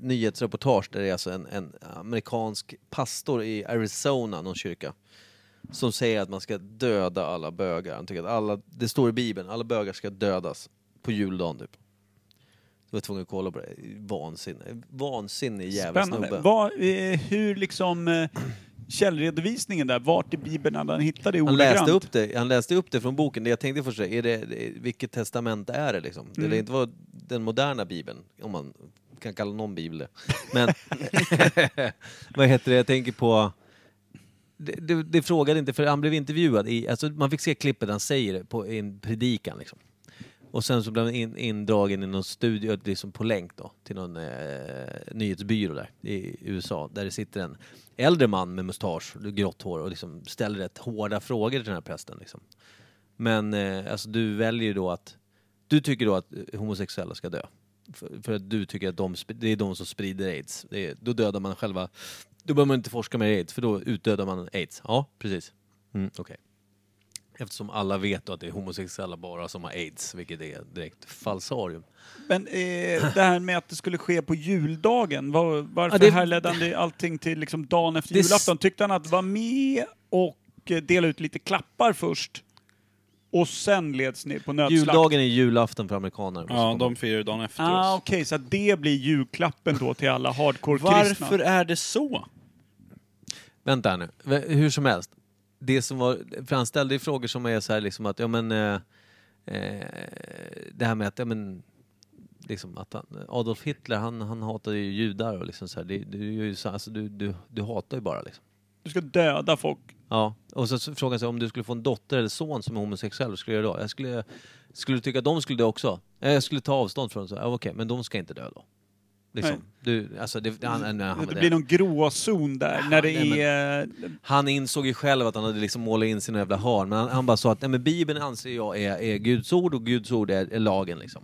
[SPEAKER 2] nyhetsreportage där det är alltså en, en amerikansk pastor i Arizona, någon kyrka, som säger att man ska döda alla bögar. Han tycker att alla, det står i Bibeln, alla bögar ska dödas på juldagen typ. Jag var tvungen att kolla på det. Vansinne. Vansinnig jävla
[SPEAKER 1] Spännande.
[SPEAKER 2] snubbe.
[SPEAKER 1] Vad, eh, hur liksom eh, källredovisningen där, vart i Bibeln hade han hittat det
[SPEAKER 2] Han läste,
[SPEAKER 1] ordagrant?
[SPEAKER 2] upp det, han läste upp det från boken. Det jag tänkte först, är det, vilket testament är det liksom? Det lär inte vara den moderna bibeln, om man kan kalla någon bibel det. Men vad heter det, jag tänker på... Det, det, det frågade inte, för han blev intervjuad. I, alltså man fick se klippet han säger det på i en predikan. Liksom. Och sen så blev han in, indragen i någon studio, liksom på länk då, till någon eh, nyhetsbyrå där i USA. Där det sitter en äldre man med mustasch, grått hår och liksom ställer rätt hårda frågor till den här prästen. Liksom. Men eh, alltså du väljer ju då att, du tycker då att eh, homosexuella ska dö. För, för att du tycker att de, sp- det är de som sprider aids. Det är, då dödar man själva, då behöver man inte forska mer i aids för då utdödar man aids. Ja, precis. Mm, okej. Eftersom alla vet då att det är homosexuella bara som har aids, vilket är direkt falsarium.
[SPEAKER 1] Men eh, det här med att det skulle ske på juldagen, var, varför
[SPEAKER 2] Ja, det-
[SPEAKER 1] härledde han det allting till liksom dagen efter
[SPEAKER 2] Det är s-
[SPEAKER 1] julafton? Tyckte han att vara med och eh, dela ut lite klappar först och sen leds ner på nödslakt?
[SPEAKER 2] Juldagen är julafton för amerikaner. måste
[SPEAKER 3] Ja,
[SPEAKER 2] komma
[SPEAKER 3] de firar ju dagen efter
[SPEAKER 1] Ah,
[SPEAKER 3] oss.
[SPEAKER 1] Okej, så att det blir julklappen då till alla hardcore-kristna?
[SPEAKER 3] Varför är det så?
[SPEAKER 2] Vänta här nu. V- Hur som helst. Det som var, för han ställde ju frågor som är så här liksom att, ja men... Eh, eh, det här med att, ja men... Liksom att han, Adolf Hitler, han, han hatade ju judar och liksom så här, det, det är ju så, alltså du, du, du hatar ju bara liksom.
[SPEAKER 1] Du ska döda folk.
[SPEAKER 2] Ja, och så- så frågade han sig om du skulle få en dotter eller son som är homosexuell, vad skulle du göra då? Jag skulle, skulle du tycka att de skulle dö också? Eh, Jag skulle ta avstånd från dem, så, ja, okej, men de ska inte dö då. Liksom,
[SPEAKER 1] Nej.
[SPEAKER 2] du, alltså det, han, han, han,
[SPEAKER 1] det blir någon gråzon där när det
[SPEAKER 2] nej, men-
[SPEAKER 1] är...
[SPEAKER 2] han insåg ju själv att han hade liksom målat in sina jävla hörn, men han, han bara sa att Nej, men Bibeln anser jag är, är Guds ord och Guds ord är, är lagen. Liksom.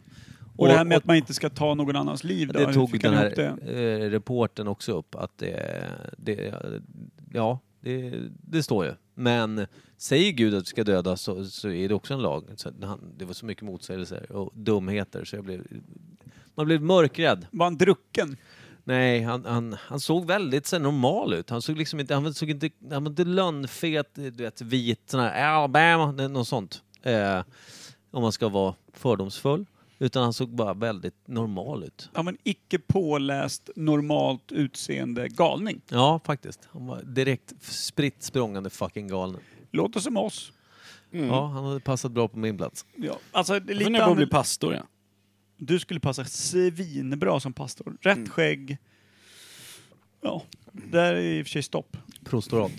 [SPEAKER 1] Och, det här med att man inte ska ta någon annans liv, då,
[SPEAKER 2] det tog
[SPEAKER 1] fick han
[SPEAKER 2] den här
[SPEAKER 1] ihop det?
[SPEAKER 2] eh, reporten också upp, att det, det ja, det, det står ju. Men säger Gud att vi ska döda så, så är det också en lag. Så att han, det var så mycket motsägelser och dumheter så jag blev, man blev mörkrädd.
[SPEAKER 1] Var han drucken?
[SPEAKER 2] Nej, han, han, han såg väldigt så här, normal ut. Han såg liksom inte, han såg inte, han var inte lönnfet, du vet vit, sån här Alabama, n- något sånt. Eh, om man ska vara fördomsfull. Utan han såg bara väldigt normal ut.
[SPEAKER 1] Ja, men icke påläst, normalt utseende galning.
[SPEAKER 2] Ja, faktiskt. Han var direkt f- spritt språngande fucking galen.
[SPEAKER 1] Låter som oss.
[SPEAKER 3] Mm.
[SPEAKER 2] Ja, han hade passat bra på min plats.
[SPEAKER 1] Ja. Alltså, det är
[SPEAKER 3] Jag
[SPEAKER 1] lite
[SPEAKER 3] funderar på att bli
[SPEAKER 1] annorlunda.
[SPEAKER 3] pastor, ja.
[SPEAKER 1] Du skulle passa svinbra som pastor. Rätt
[SPEAKER 2] Mm.
[SPEAKER 1] skägg. Ja, där är i och för sig stopp.
[SPEAKER 2] Prostorat.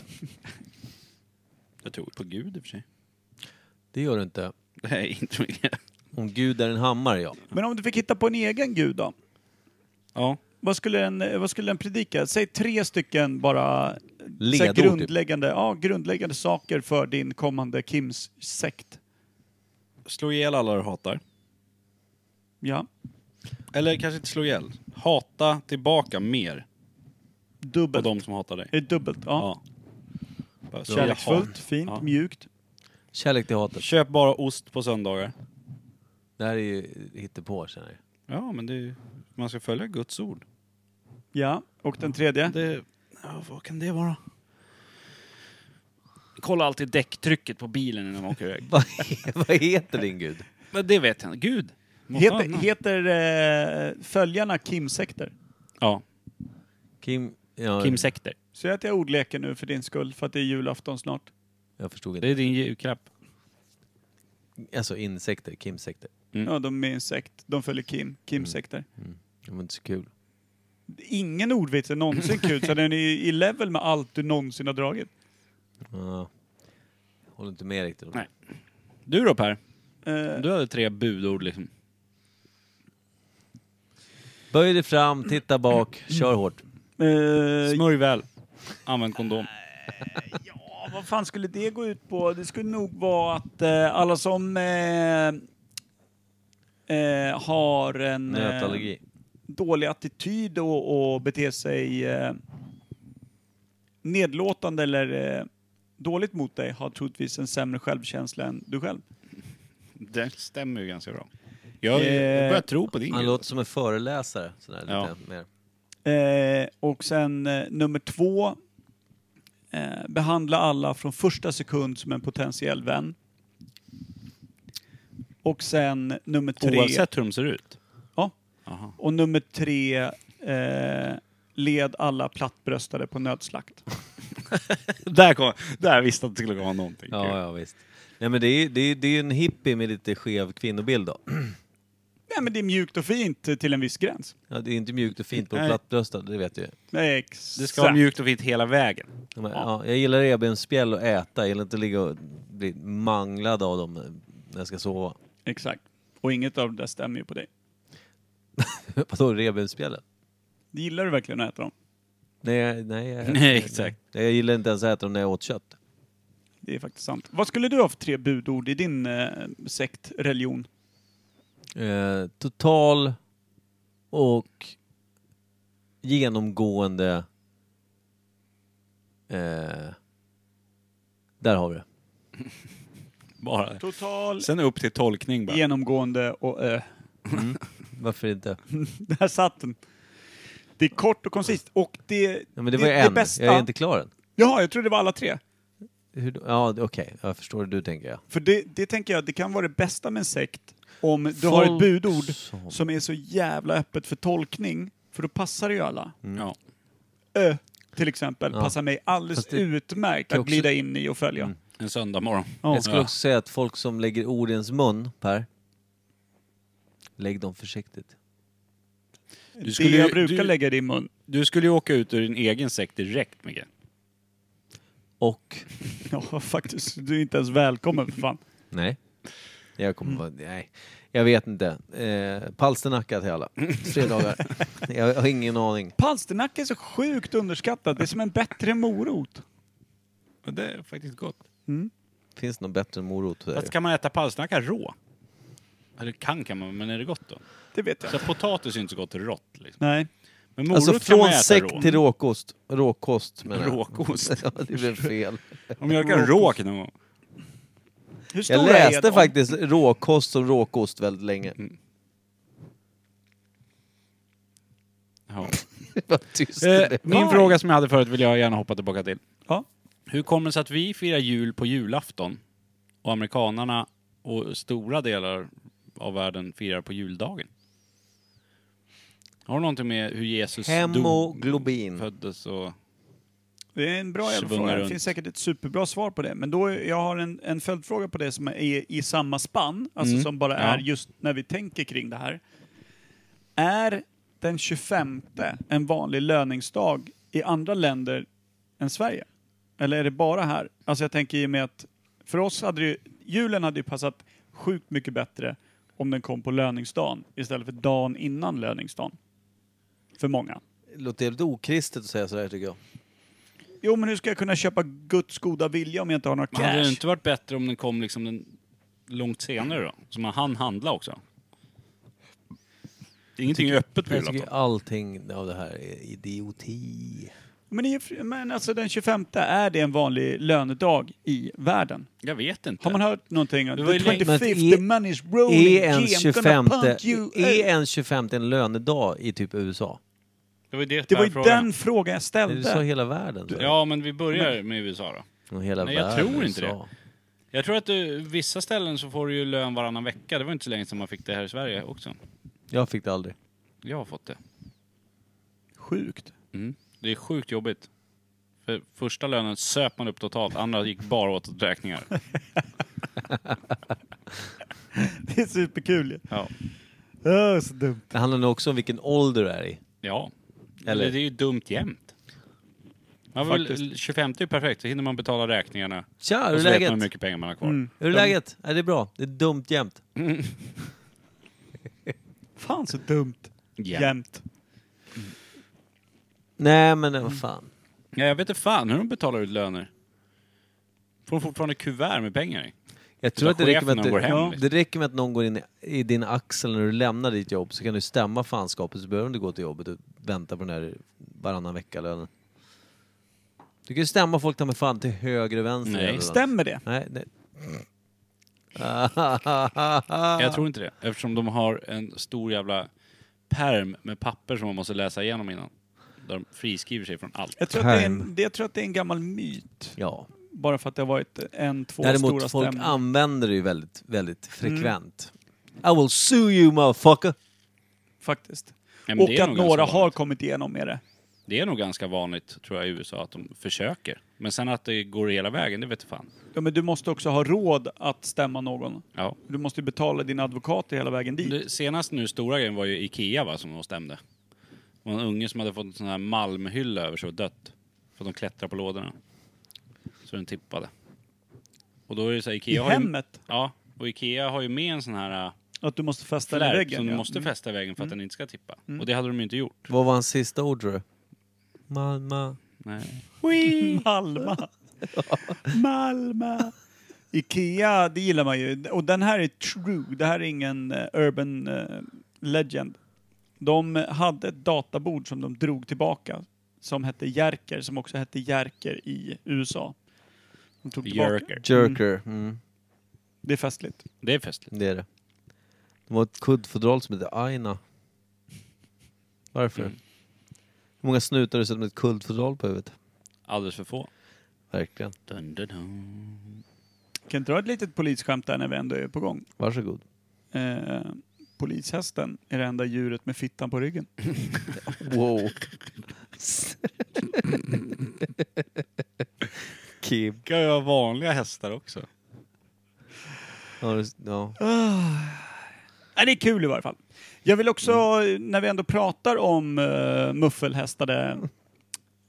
[SPEAKER 3] Jag tror på Gud i och för sig.
[SPEAKER 2] Det gör du inte.
[SPEAKER 3] Nej, inte mycket.
[SPEAKER 2] Om Gud är en hammare, ja.
[SPEAKER 1] Men om du fick hitta på en egen gud då?
[SPEAKER 3] Ja.
[SPEAKER 1] Vad skulle den, eh, vad skulle den predika? Säg tre stycken bara eh, så här
[SPEAKER 2] Ledord, typ.
[SPEAKER 1] grundläggande, ja, grundläggande saker för din kommande Kims-sekt.
[SPEAKER 3] Slå ihjäl alla du hatar.
[SPEAKER 1] Ja.
[SPEAKER 3] Eller kanske inte slå ihjäl. Hata tillbaka mer på
[SPEAKER 1] Dubbelt.
[SPEAKER 3] de som hatar dig.
[SPEAKER 1] Är det dubbelt? Ja.
[SPEAKER 3] Ja. Bara,
[SPEAKER 1] Kärleksfullt, fint,
[SPEAKER 3] Ja.
[SPEAKER 1] mjukt.
[SPEAKER 2] Kärlek till hatet.
[SPEAKER 3] Köp bara ost på söndagar.
[SPEAKER 2] Det här är ju hittepå, känner jag.
[SPEAKER 3] Ja, men det är, ju- man ska följa Guds ord.
[SPEAKER 1] Ja. Och den tredje?
[SPEAKER 3] Det, ja, vad kan det vara?
[SPEAKER 4] Kolla alltid däcktrycket på bilen innan man åker iväg.
[SPEAKER 2] Vad, vad heter din Gud?
[SPEAKER 3] Men det vet jag inte. Gud. Måste ha
[SPEAKER 1] Heter,
[SPEAKER 3] någon.
[SPEAKER 1] heter eh, följarna Kimsekter?
[SPEAKER 3] Ja.
[SPEAKER 2] Kim... Ja,
[SPEAKER 3] Kim Sekter.
[SPEAKER 1] Säg att jag ordleker nu för din skull, för att det är julafton snart.
[SPEAKER 3] Mm.
[SPEAKER 2] jag förstod
[SPEAKER 3] Det
[SPEAKER 2] inte.
[SPEAKER 3] är din julklapp.
[SPEAKER 2] Alltså insekter, Kimsekter.
[SPEAKER 3] Mm.
[SPEAKER 1] Ja, de är en sekt. De följer Kim. Kimsekter.
[SPEAKER 2] Det var inte så kul.
[SPEAKER 1] Ingen ordvits är någonsin kul, så den är i level med allt du någonsin har dragit.
[SPEAKER 2] Ja. Håller inte med riktigt.
[SPEAKER 3] Nej. Du då Per?
[SPEAKER 1] Eh,
[SPEAKER 3] Du hade tre budord liksom.
[SPEAKER 2] Böj dig fram, titta bak, kör hårt.
[SPEAKER 1] eh,
[SPEAKER 3] Smörj väl. Använd kondom.
[SPEAKER 1] ja, vad fan skulle det gå ut på? Det skulle nog vara att eh, alla som eh, eh, har en eh,
[SPEAKER 2] Nötallergi.
[SPEAKER 1] dålig attityd och, och beter sig eh, nedlåtande eller eh, dåligt mot dig har troligtvis en sämre självkänsla än du själv.
[SPEAKER 3] Det stämmer ju ganska bra. Jag
[SPEAKER 1] Eh,
[SPEAKER 3] börjar tro på din
[SPEAKER 2] Han
[SPEAKER 3] grej.
[SPEAKER 2] låter som en föreläsare. Sådär,
[SPEAKER 3] Ja.
[SPEAKER 2] lite mer.
[SPEAKER 1] Eh, och sen eh, nummer två, eh, behandla alla från första sekund som en potentiell vän. Och sen nummer tre,
[SPEAKER 3] Oavsett hur de ser ut.
[SPEAKER 1] Ja.
[SPEAKER 3] Aha.
[SPEAKER 1] och nummer tre eh, led alla plattbröstade på nödslakt.
[SPEAKER 3] Där, kom, där visste jag att det skulle komma någonting.
[SPEAKER 2] Ja, ja, visst. Nej, men det är ju det är, det är ju en hippie med lite skev kvinnobild då.
[SPEAKER 1] Nej men det är mjukt och fint eh, till en viss gräns.
[SPEAKER 2] Ja, det är inte mjukt och fint på
[SPEAKER 3] Nej.
[SPEAKER 2] plattbröstad, det vet jag ju.
[SPEAKER 1] Exakt.
[SPEAKER 3] Det ska vara mjukt och fint hela vägen.
[SPEAKER 2] Men, ja, jag gillar revbensspjäll att äta, jag gillar inte att ligga och bli manglad av dem när jag ska sova.
[SPEAKER 1] Exakt. Och inget av det där stämmer ju på dig.
[SPEAKER 2] Vadå revbensspjällen?
[SPEAKER 1] Gillar du verkligen att äta dem?
[SPEAKER 2] Nej, nej, jag,
[SPEAKER 3] Nej, exakt.
[SPEAKER 2] nej. Jag gillar inte ens att äta dem när jag åt kött.
[SPEAKER 1] Det är faktiskt sant. Vad skulle du ha för tre budord i din eh, sekt, religion?
[SPEAKER 2] Eh, total och genomgående... Eh, där har vi det.
[SPEAKER 3] Bara det.
[SPEAKER 1] Total,
[SPEAKER 3] Sen upp till tolkning bara.
[SPEAKER 1] genomgående och ö.
[SPEAKER 2] Varför inte?
[SPEAKER 1] Där satt den. Det är kort och koncist. Och det...
[SPEAKER 2] Ja, men det var ju en.
[SPEAKER 1] bästa...
[SPEAKER 2] Jag är inte klar än.
[SPEAKER 1] Jaha, jag trodde det var alla tre.
[SPEAKER 2] Hur då? Ja, det- okej. Jag förstår hur du tänker. Ja.
[SPEAKER 1] För det, det tänker jag, det kan vara det bästa med en sekt. Om du har ett
[SPEAKER 2] Folk
[SPEAKER 1] budord
[SPEAKER 2] som-
[SPEAKER 1] som är så jävla öppet för tolkning. För då passar det ju alla.
[SPEAKER 3] Ja.
[SPEAKER 1] Ö, till exempel, passar mig alldeles
[SPEAKER 2] Fast det-
[SPEAKER 1] utmärkt
[SPEAKER 2] kan
[SPEAKER 1] att
[SPEAKER 2] också- Mm.
[SPEAKER 1] glida in i och följa.
[SPEAKER 3] En söndag morgon.
[SPEAKER 1] Ja.
[SPEAKER 2] Jag skulle också säga att folk som lägger ord i ens mun, Per, lägg dem försiktigt.
[SPEAKER 1] Det
[SPEAKER 3] Du skulle ju-
[SPEAKER 1] jag brukar
[SPEAKER 3] du-
[SPEAKER 1] lägga i din mun.
[SPEAKER 3] Du skulle ju åka ut ur din egen sekt direkt Micke.
[SPEAKER 2] Och...
[SPEAKER 1] Ja, faktiskt. Du är inte ens välkommen för fan.
[SPEAKER 2] Nej. Jag kommer vara... Nej. Jag vet inte. Eh, Palsternacka till alla. Fredagar. jag har ingen aning.
[SPEAKER 1] Palsternacka är så sjukt underskattat. Det är som en bättre morot.
[SPEAKER 3] Men Det är faktiskt gott.
[SPEAKER 2] Finns det någon bättre morot? Där?
[SPEAKER 3] Fast kan man äta palsternacka rå? Eller kan kan man, men är det gott då?
[SPEAKER 1] Det vet jag.
[SPEAKER 3] Så potatis är inte så gott rått liksom.
[SPEAKER 1] Nej.
[SPEAKER 3] Men morot
[SPEAKER 2] Alltså
[SPEAKER 3] kan man
[SPEAKER 2] från
[SPEAKER 3] äta
[SPEAKER 2] säck
[SPEAKER 3] rå.
[SPEAKER 2] till råkost. Råkost menar jag.
[SPEAKER 3] Råkost.
[SPEAKER 2] ja, det blev fel.
[SPEAKER 3] Om jag kan råk någon gång.
[SPEAKER 1] Hur
[SPEAKER 2] Jag
[SPEAKER 1] stora är
[SPEAKER 2] läste
[SPEAKER 1] de?
[SPEAKER 2] faktiskt råkost som råkost väldigt länge.
[SPEAKER 3] Ja.
[SPEAKER 2] Vad tyst det
[SPEAKER 3] Eh,
[SPEAKER 2] blev.
[SPEAKER 3] min fråga som jag hade förut vill jag gärna hoppa tillbaka till.
[SPEAKER 1] Ja.
[SPEAKER 3] Hur kommer det sig att vi firar jul på julafton och amerikanarna och stora delar av världen firar på juldagen? Har du någonting med hur Jesus dog,
[SPEAKER 2] Hemoglobin.
[SPEAKER 3] föddes och...
[SPEAKER 1] Det är en bra jävla
[SPEAKER 3] Svunga
[SPEAKER 1] fråga. Det
[SPEAKER 3] runt.
[SPEAKER 1] finns säkert ett superbra svar på det. Men då, är- jag har en, en följdfråga på det som är i samma spann, alltså
[SPEAKER 3] Mm.
[SPEAKER 1] som bara
[SPEAKER 3] Ja.
[SPEAKER 1] är just när vi tänker kring det här. Är den 25 en vanlig löningsdag i andra länder än Sverige? Eller är det bara här? Alltså jag tänker i och med att för oss hade det ju, julen hade ju passat sjukt mycket bättre om den kom på löningsdagen istället för dagen innan löningsdagen. För många.
[SPEAKER 2] Det låter jävligt okristet att säga sådär tycker jag.
[SPEAKER 1] Jo, men hur ska jag kunna köpa Guds goda vilja om jag inte har några
[SPEAKER 3] Men Hade det
[SPEAKER 1] cash?
[SPEAKER 3] inte varit bättre om den kom liksom den långt senare då? Så man hann handla också? Det är Ingenting är öppet på
[SPEAKER 2] Jag tycker
[SPEAKER 3] julafton.
[SPEAKER 2] allting av det här är idioti.
[SPEAKER 1] Men, i, men alltså den 25 är det en vanlig lönedag i världen.
[SPEAKER 3] Jag vet inte.
[SPEAKER 1] Har man hört någonting? The
[SPEAKER 3] var ju länge-
[SPEAKER 1] 25
[SPEAKER 2] Men är-
[SPEAKER 1] the money is rolling,
[SPEAKER 2] Är en
[SPEAKER 1] yeah, I'm gonna
[SPEAKER 2] 25,
[SPEAKER 1] pump you.
[SPEAKER 2] är
[SPEAKER 3] eh.
[SPEAKER 2] en 25 en lönedag i typ USA?
[SPEAKER 3] Det var ju det,
[SPEAKER 1] Det var ju
[SPEAKER 3] Per frågade.
[SPEAKER 1] den frågan
[SPEAKER 2] Du
[SPEAKER 1] jag
[SPEAKER 2] sa
[SPEAKER 1] ställde.
[SPEAKER 2] hela världen. sa du?
[SPEAKER 3] Ja, men vi börjar med USA då.
[SPEAKER 2] Och Hela
[SPEAKER 3] Nej, jag
[SPEAKER 2] världen,
[SPEAKER 3] tror inte
[SPEAKER 2] USA.
[SPEAKER 3] Jag tror att du, vissa ställen så får du ju lön varannan vecka. Det var inte så länge sedan man fick det här i Sverige också.
[SPEAKER 2] Jag fick det aldrig.
[SPEAKER 3] Jag har fått det.
[SPEAKER 1] Sjukt.
[SPEAKER 3] Mm. Det är sjukt jobbigt. För första lönen söp man upp totalt, andra gick bara åt räkningar.
[SPEAKER 1] Det är superkul ju.
[SPEAKER 3] Ja.
[SPEAKER 1] Åh, så dumt.
[SPEAKER 2] Det handlar nog också om vilken ålder du är i.
[SPEAKER 3] ja.
[SPEAKER 2] Eller-
[SPEAKER 3] Eller? Det är ju dumt jämt. Man vill, 25 är ju perfekt, så hinner man betala räkningarna.
[SPEAKER 2] Tja,
[SPEAKER 3] Och
[SPEAKER 2] hur är
[SPEAKER 3] så vet man hur
[SPEAKER 2] läget?
[SPEAKER 3] mycket pengar man har kvar.
[SPEAKER 1] Mm.
[SPEAKER 2] Hur är läget? Är det är bra? Det är dumt jämt.
[SPEAKER 1] Fan så dumt.
[SPEAKER 3] Ja.
[SPEAKER 1] Jämt.
[SPEAKER 2] Nej men eh, vad fan.
[SPEAKER 3] Ja, jag vet inte fan hur de betalar ut löner. Får de fortfarande kuvert med pengar i?
[SPEAKER 2] Jag tror att det räcker, med
[SPEAKER 3] chefen
[SPEAKER 2] att
[SPEAKER 3] går
[SPEAKER 2] det,
[SPEAKER 3] hem,
[SPEAKER 2] ja,
[SPEAKER 3] liksom.
[SPEAKER 2] det räcker med att någon går in i- i din axel när du lämnar ditt jobb så kan du stämma fanskapet så behöver du inte gå till jobbet och vänta på den här varannan vecka-lönen. Du kan ju stämma folk ta med fan till höger och vänster.
[SPEAKER 3] Nej.
[SPEAKER 2] eller vad.
[SPEAKER 1] Stämmer det?
[SPEAKER 2] Nej, nej.
[SPEAKER 3] Jag tror inte det. Eftersom de har en stor jävla perm med papper som man måste läsa igenom innan. Där de friskriver sig från allt.
[SPEAKER 1] Jag tror, att det är
[SPEAKER 2] Perm.
[SPEAKER 1] en, det, jag tror att det är en gammal myt.
[SPEAKER 2] Ja.
[SPEAKER 1] Bara för att det har varit en, två stora
[SPEAKER 2] Däremot folk
[SPEAKER 1] stämmor.
[SPEAKER 2] använder det ju väldigt, väldigt
[SPEAKER 3] Mm.
[SPEAKER 2] frekvent. I will sue you motherfucker!
[SPEAKER 1] Faktiskt.
[SPEAKER 3] Nej, men
[SPEAKER 1] Och
[SPEAKER 3] det är
[SPEAKER 1] att
[SPEAKER 3] nog
[SPEAKER 1] några
[SPEAKER 3] ganska
[SPEAKER 1] har
[SPEAKER 3] vanligt.
[SPEAKER 1] kommit igenom med det.
[SPEAKER 3] Det är nog ganska vanligt, tror jag, i USA att de försöker. Men sen att det går hela vägen, det vet jag fan.
[SPEAKER 1] Ja, men du måste också ha råd att stämma någon.
[SPEAKER 3] Ja.
[SPEAKER 1] Du måste ju betala din advokat hela vägen dit.
[SPEAKER 3] Det senaste nu stora grejen var ju Ikea va, som de stämde. Det var en unge som hade fått en sån här malmhylla över sig och dött. För att de klättrade på lådorna. Så den tippade. Och då är det så här, Ikea
[SPEAKER 1] I
[SPEAKER 3] har ju-
[SPEAKER 1] hemmet.
[SPEAKER 3] Ja, och Ikea har ju med en sån här äh,
[SPEAKER 1] Att du måste fästa den i
[SPEAKER 3] flärp som
[SPEAKER 1] väggen.
[SPEAKER 3] du
[SPEAKER 1] ja. Mm.
[SPEAKER 3] måste fästa i väggen för att den inte ska tippa. Och det hade de ju inte gjort.
[SPEAKER 2] Vad var hans sista ord tror du? Mamma.
[SPEAKER 3] Mm. Nej.
[SPEAKER 1] Wee! Malmö. Malmö. Ikea, det gillar man ju. Och den här är true. Det här är ingen eh, urban eh, legend. De hade ett databord som de drog tillbaka. Som hette Jerker, som också hette Jerker i USA. De tog tillbaka.
[SPEAKER 3] Jerker.
[SPEAKER 2] Jerker. Mm.
[SPEAKER 1] Det är festligt.
[SPEAKER 3] Det är festligt.
[SPEAKER 2] Det är det. De har ett kuddfodral som heter Aina. Varför?
[SPEAKER 3] Mm.
[SPEAKER 2] Hur många snutar du sett med ett kuddfodral på huvudet?
[SPEAKER 3] Alldeles för få.
[SPEAKER 2] Verkligen.
[SPEAKER 3] Dun, dun, dun.
[SPEAKER 1] Kan dra ett litet polisskämt där när vi ändå är på gång.
[SPEAKER 2] Varsågod.
[SPEAKER 1] Eh, polishästen är det enda djuret med fittan på ryggen.
[SPEAKER 2] Wow. Kim.
[SPEAKER 3] Kan ju ha vanliga hästar också.
[SPEAKER 2] Ja, det- ja.
[SPEAKER 1] Nej, det är kul i varje fall. Jag vill också, när vi ändå pratar om uh, muffelhästade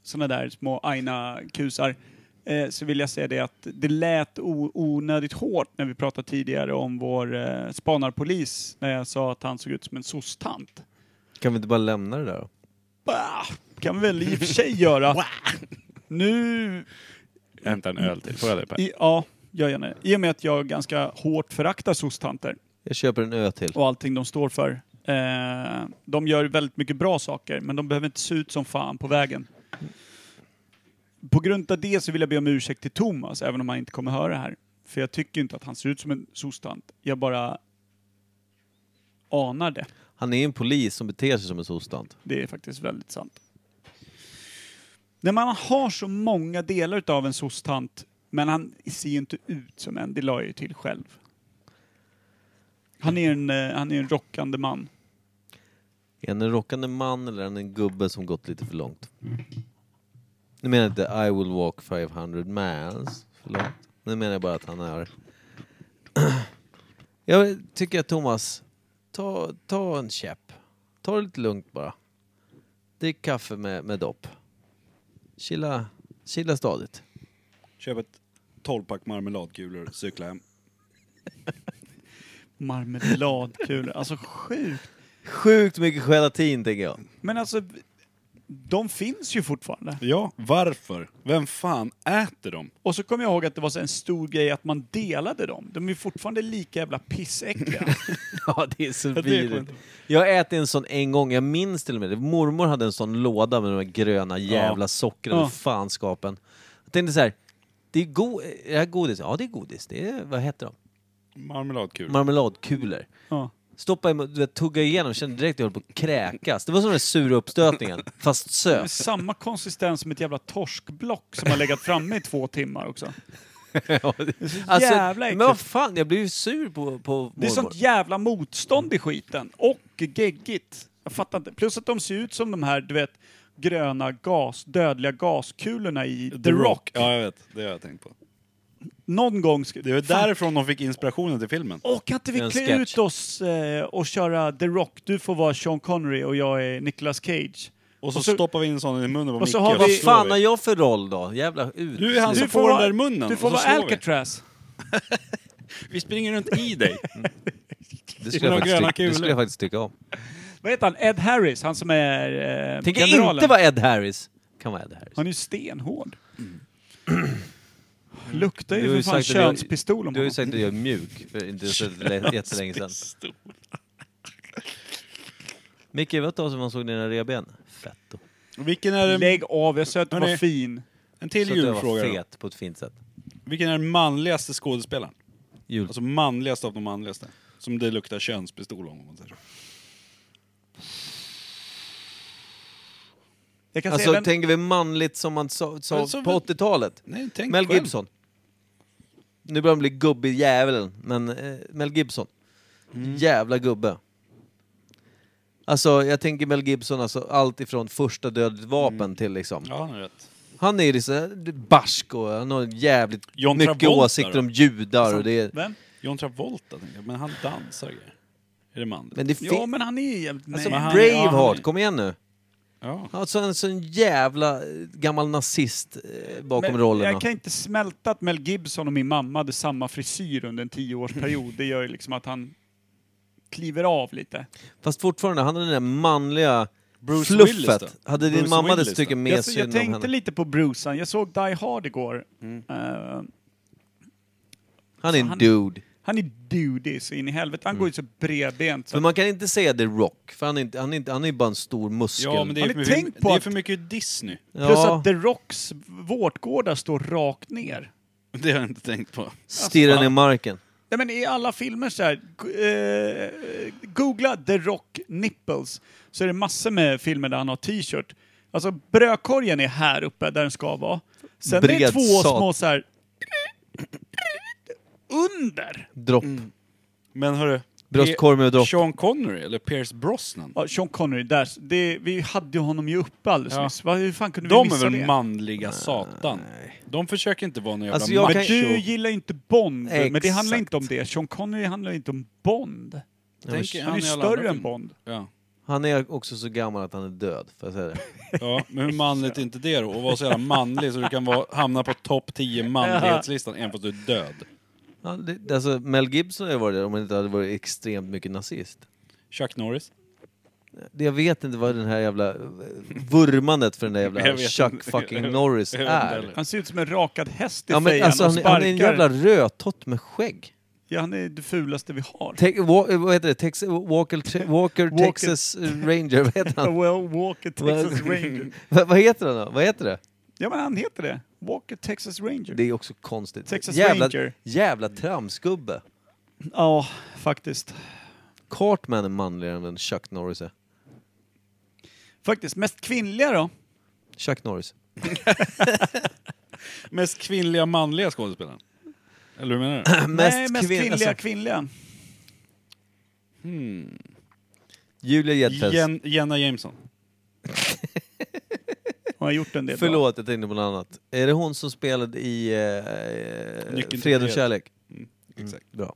[SPEAKER 1] sådana där små aina-kusar, eh, så vill jag säga det att det lät o- onödigt hårt när vi pratade tidigare om vår eh, spanarpolis, när jag sa att han såg ut som en soc-tant.
[SPEAKER 2] Kan vi inte bara lämna det där då?
[SPEAKER 1] Bah, kan vi väl i och för sig göra. nu
[SPEAKER 3] Jag hämtar en öl till. Får jag det Per?
[SPEAKER 1] I, ja, jag gärna det. I och med att jag ganska hårt föraktar soc-tanter
[SPEAKER 2] Jag köper en ö till.
[SPEAKER 1] och allting de står för. Eh, de gör väldigt mycket bra saker, men de behöver inte se ut som fan på vägen. På grund av det så vill jag be om ursäkt till Thomas, även om han inte kommer höra det här. För jag tycker inte att han ser ut som en soc-tant. Jag bara anar det.
[SPEAKER 2] Han är en polis som beter sig som en sostant.
[SPEAKER 1] Det är faktiskt väldigt sant. När man har så många delar utav en soc-tant, men han ser ju inte ut som en, det la jag ju till själv. Han är en, eh, han är en rockande man.
[SPEAKER 2] Är han en rockande man eller är han en gubbe som gått lite för långt? Nu menar jag inte I will walk 500 miles för långt. Nu menar jag bara att han är... Jag tycker att Thomas, ta, ta en käpp. Ta det lite lugnt bara. Drick kaffe med, med dopp. Chilla, chilla stadigt.
[SPEAKER 7] Köp ett 12-pack marmeladkulor, cykla hem.
[SPEAKER 1] Marmeladkulor, alltså sjukt.
[SPEAKER 2] Sjukt mycket gelatin tänker jag.
[SPEAKER 1] Men alltså, de finns ju fortfarande.
[SPEAKER 7] Ja, varför? Vem fan äter dem?
[SPEAKER 1] Och så kommer jag ihåg att det var så en stor grej att man delade dem. De är ju fortfarande lika jävla pissäckliga.
[SPEAKER 2] Ja, det är så
[SPEAKER 1] det är
[SPEAKER 2] vidrigt.
[SPEAKER 1] skönt.
[SPEAKER 2] Jag har ätit en sån en gång, jag minns till och med det. Mormor hade en sån låda med de här gröna jävla sockrade
[SPEAKER 1] Ja.
[SPEAKER 2] fanskapen. Jag tänkte så här, det är, go- är det här godis? Ja, det är godis. Det är, vad heter de?
[SPEAKER 3] Marmeladkul.
[SPEAKER 2] Marmeladkulor.
[SPEAKER 1] Ja.
[SPEAKER 2] Stoppa i mun- du vet, tugga igenom, kände direkt att jag höll på att kräkas. Det var som den där sura uppstötningen, fast
[SPEAKER 1] Med
[SPEAKER 2] söt.
[SPEAKER 1] samma konsistens som ett jävla torskblock som har legat framme i två timmar också.
[SPEAKER 2] alltså,
[SPEAKER 1] jävla äckligt.
[SPEAKER 2] Men vad fan, jag blev ju sur på, på
[SPEAKER 1] Det är sånt jävla motstånd i skiten. Och geggigt. Jag fattar inte. Plus att de ser ut som de här, du vet, gröna gas, dödliga gaskulorna i The, Rock.
[SPEAKER 3] Ja, jag vet. Det har jag tänkt på.
[SPEAKER 1] Någon gång... Ska,
[SPEAKER 3] Det är
[SPEAKER 1] Fan,
[SPEAKER 3] därifrån de fick inspirationen till filmen.
[SPEAKER 1] Åh, kan inte
[SPEAKER 2] Det är
[SPEAKER 1] vi
[SPEAKER 2] en
[SPEAKER 1] klä
[SPEAKER 2] sketch.
[SPEAKER 1] ut oss eh, och köra The Rock? Du får vara Sean Connery och jag är Nicolas Cage.
[SPEAKER 3] Och så,
[SPEAKER 1] och så-
[SPEAKER 3] stoppar vi in sån i munnen på
[SPEAKER 1] och
[SPEAKER 3] Micke
[SPEAKER 1] så har
[SPEAKER 2] Vad
[SPEAKER 1] vi-
[SPEAKER 3] slår
[SPEAKER 2] fan
[SPEAKER 3] vi.
[SPEAKER 2] har jag för roll då? Jävla ut.
[SPEAKER 3] Du är han som får den där i munnen.
[SPEAKER 1] Du
[SPEAKER 3] och
[SPEAKER 1] får
[SPEAKER 3] så
[SPEAKER 1] vara
[SPEAKER 3] slår vi.
[SPEAKER 1] Alcatraz.
[SPEAKER 8] Vi springer runt i dig.
[SPEAKER 2] det, skulle jag
[SPEAKER 8] några gröna
[SPEAKER 2] faktiskt tycka, det skulle
[SPEAKER 8] kulor.
[SPEAKER 2] jag faktiskt tycka om.
[SPEAKER 1] Vad heter han? Ed Harris, han som är eh,
[SPEAKER 2] Tänker
[SPEAKER 1] generalen.
[SPEAKER 2] inte vara Ed Harris. Kan vara Ed Harris.
[SPEAKER 1] Han är ju stenhård. Luktar
[SPEAKER 2] Du har
[SPEAKER 1] ju för fan
[SPEAKER 2] sagt att jag-
[SPEAKER 1] könspistol om
[SPEAKER 2] Du har ju
[SPEAKER 1] honom.
[SPEAKER 2] sagt att jag är mjuk för inte så lä- jättelänge sedan. Micke, vad tag som man såg dina revben? Fetto.
[SPEAKER 3] Vilken är, den,
[SPEAKER 1] Lägg av, jag sa att du var
[SPEAKER 3] Hörni.
[SPEAKER 1] fin.
[SPEAKER 3] en till
[SPEAKER 2] Så att jag var
[SPEAKER 3] julfråga då.
[SPEAKER 2] fet på ett fint sätt.
[SPEAKER 3] Vilken är den manligaste skådespelaren?
[SPEAKER 2] Jul.
[SPEAKER 3] Alltså manligaste av de manligaste. Som det luktar könspistol om. om man säger så.
[SPEAKER 1] Jag kan
[SPEAKER 2] Alltså,
[SPEAKER 1] säga den,
[SPEAKER 2] tänker vi manligt som man sa, sa
[SPEAKER 3] Men så-
[SPEAKER 2] på 80-talet?
[SPEAKER 3] Nej, tänk
[SPEAKER 2] Mel
[SPEAKER 3] själv.
[SPEAKER 2] Gibson. Nu börjar han bli gubbig djävulen, men eh, Mel Gibson.
[SPEAKER 3] Mm.
[SPEAKER 2] Jävla gubbe. Alltså, jag tänker Mel Gibson, alltså allt ifrån första dödligt vapen
[SPEAKER 3] Mm.
[SPEAKER 2] till liksom.
[SPEAKER 3] Ja, han har rätt.
[SPEAKER 2] Han är ju liksom barsk och han har jävligt
[SPEAKER 3] John
[SPEAKER 2] mycket
[SPEAKER 3] Travolta
[SPEAKER 2] åsikter
[SPEAKER 3] då? Alltså,
[SPEAKER 2] om judar och det är...
[SPEAKER 1] vem?
[SPEAKER 3] John Travolta tänker jag, men han dansar och grejer. Är det manligt?
[SPEAKER 2] Men det finns...
[SPEAKER 1] Ja, men han är ju jävligt...
[SPEAKER 2] alltså,
[SPEAKER 1] nej.
[SPEAKER 3] han- ja,
[SPEAKER 2] Braveheart,
[SPEAKER 3] han-
[SPEAKER 2] kom igen nu.
[SPEAKER 3] Ja.
[SPEAKER 2] Alltså en sån jävla eh, gammal nazist eh, bakom
[SPEAKER 1] Men
[SPEAKER 2] rollen.
[SPEAKER 1] Jag
[SPEAKER 2] och-
[SPEAKER 1] kan inte smälta att Mel Gibson och min mamma hade samma frisyr under en tioårsperiod. Det gör ju liksom att han kliver av lite.
[SPEAKER 2] Fast fortfarande, han hade den där manliga
[SPEAKER 3] Bruce
[SPEAKER 2] fluffet.
[SPEAKER 3] Willis då?
[SPEAKER 2] hade din
[SPEAKER 3] Bruce
[SPEAKER 2] mamma
[SPEAKER 3] Willis
[SPEAKER 2] dessutom
[SPEAKER 3] då?
[SPEAKER 2] med
[SPEAKER 1] Jag,
[SPEAKER 2] synd
[SPEAKER 1] jag
[SPEAKER 2] om
[SPEAKER 1] tänkte
[SPEAKER 2] henne?
[SPEAKER 1] lite på Bruce. Jag såg Die Hard igår. Eh,
[SPEAKER 2] han är en
[SPEAKER 1] han-
[SPEAKER 2] dude.
[SPEAKER 1] han är dudig så in i helvete.
[SPEAKER 2] Mm.
[SPEAKER 1] Han går ju så bredbent.
[SPEAKER 2] Men
[SPEAKER 1] Så
[SPEAKER 2] man kan inte säga The Rock, för han är, inte, han är, inte, han är bara en stor muskel.
[SPEAKER 3] ja, men det
[SPEAKER 1] Har
[SPEAKER 3] är,
[SPEAKER 1] ni
[SPEAKER 3] för,
[SPEAKER 1] tänkt
[SPEAKER 3] mycket,
[SPEAKER 1] på
[SPEAKER 3] det är
[SPEAKER 1] att-
[SPEAKER 3] för mycket Disney.
[SPEAKER 2] Ja,
[SPEAKER 1] Plus att The Rocks vårtgårdar står rakt ner.
[SPEAKER 3] Det har jag inte tänkt på. Alltså,
[SPEAKER 2] stirrar ner i marken.
[SPEAKER 1] Nej men i alla filmer så här, go- eh, googla The Rock nipples så är det massor med filmer där han har t-shirt. Alltså brödkorgen är här uppe där den ska vara. Sen är det
[SPEAKER 2] Bred
[SPEAKER 1] två
[SPEAKER 2] sat.
[SPEAKER 1] små så här under.
[SPEAKER 2] Dropp.
[SPEAKER 3] mm. Men hörru.
[SPEAKER 2] Bröstkorv med dropp.
[SPEAKER 3] Sean Connery eller Pierce Brosnan?
[SPEAKER 1] Ja, Sean Connery, där, det, vi hade ju honom ju uppe alldeles
[SPEAKER 3] Ja.
[SPEAKER 1] nyss. Va, hur fan kunde vi
[SPEAKER 3] De är
[SPEAKER 1] missa
[SPEAKER 3] väl
[SPEAKER 1] det?
[SPEAKER 3] manliga satan? De försöker inte vara någon jävla
[SPEAKER 2] Alltså, jag
[SPEAKER 3] macho.
[SPEAKER 2] kan-
[SPEAKER 1] Du gillar ju inte Bond, men det handlar
[SPEAKER 2] Exakt.
[SPEAKER 1] inte om det. Sean Connery handlar ju inte om Bond.
[SPEAKER 3] Tänker
[SPEAKER 1] Han är ju
[SPEAKER 3] i alla andra
[SPEAKER 1] större än
[SPEAKER 3] filmer.
[SPEAKER 1] Bond.
[SPEAKER 3] Ja.
[SPEAKER 2] Han är också så gammal att han är död, får jag säga det?
[SPEAKER 3] ja, men hur manligt är inte det då? Att vara så jävla manlig så du kan vara, hamna på topp 10 manlighetslistan även fast du är död.
[SPEAKER 2] Ja, det alltså, Mel Gibson hade varit det om han inte hade varit extremt mycket nazist.
[SPEAKER 3] Chuck Norris?
[SPEAKER 2] Det- Jag vet inte vad den här jävla eh, vurmandet för den där
[SPEAKER 3] Jag
[SPEAKER 2] jävla
[SPEAKER 3] vet
[SPEAKER 2] Chuck
[SPEAKER 3] inte.
[SPEAKER 2] fucking Norris
[SPEAKER 3] Jag vet inte
[SPEAKER 2] är.
[SPEAKER 3] heller.
[SPEAKER 1] Han ser ut som en rakad häst i
[SPEAKER 2] Ja, men
[SPEAKER 1] fejan
[SPEAKER 2] alltså,
[SPEAKER 1] och
[SPEAKER 2] han, är-
[SPEAKER 1] sparkar.
[SPEAKER 2] han är en jävla rödtott med skägg.
[SPEAKER 1] Ja, han är det fulaste vi har.
[SPEAKER 2] Te- wa- eh, vad heter det? Tex- Walker, Tre- Walker
[SPEAKER 1] Walker-
[SPEAKER 2] Texas Ranger, vad heter han?
[SPEAKER 1] Well, Walker Texas
[SPEAKER 2] Well-
[SPEAKER 1] Ranger.
[SPEAKER 2] Va- vad heter han då? Vad heter det?
[SPEAKER 1] Ja men han heter det. Walker Texas Ranger.
[SPEAKER 2] Det är också konstigt.
[SPEAKER 1] Texas
[SPEAKER 2] jävla,
[SPEAKER 1] Ranger.
[SPEAKER 2] jävla tramsgubbe.
[SPEAKER 1] Ja, faktiskt.
[SPEAKER 2] Cartman är manligare än Chuck Norris är.
[SPEAKER 1] Faktiskt. Mest kvinnliga då?
[SPEAKER 2] Chuck Norris.
[SPEAKER 3] Mest kvinnliga manliga skådespelaren? Eller hur menar du?
[SPEAKER 1] Nej, mest
[SPEAKER 2] kvinn-
[SPEAKER 1] kvinnliga
[SPEAKER 2] alltså,
[SPEAKER 1] kvinnliga.
[SPEAKER 2] Julia Gedfels.
[SPEAKER 3] Jen, Jenna Jameson?
[SPEAKER 1] Mm. Hon har gjort en del bra.
[SPEAKER 2] Förlåt, jag tänkte på något annat. Är det hon som spelade i eh,
[SPEAKER 3] Nyckeln
[SPEAKER 2] Fred och
[SPEAKER 3] till
[SPEAKER 2] kärlek?
[SPEAKER 3] Exakt.
[SPEAKER 2] Bra.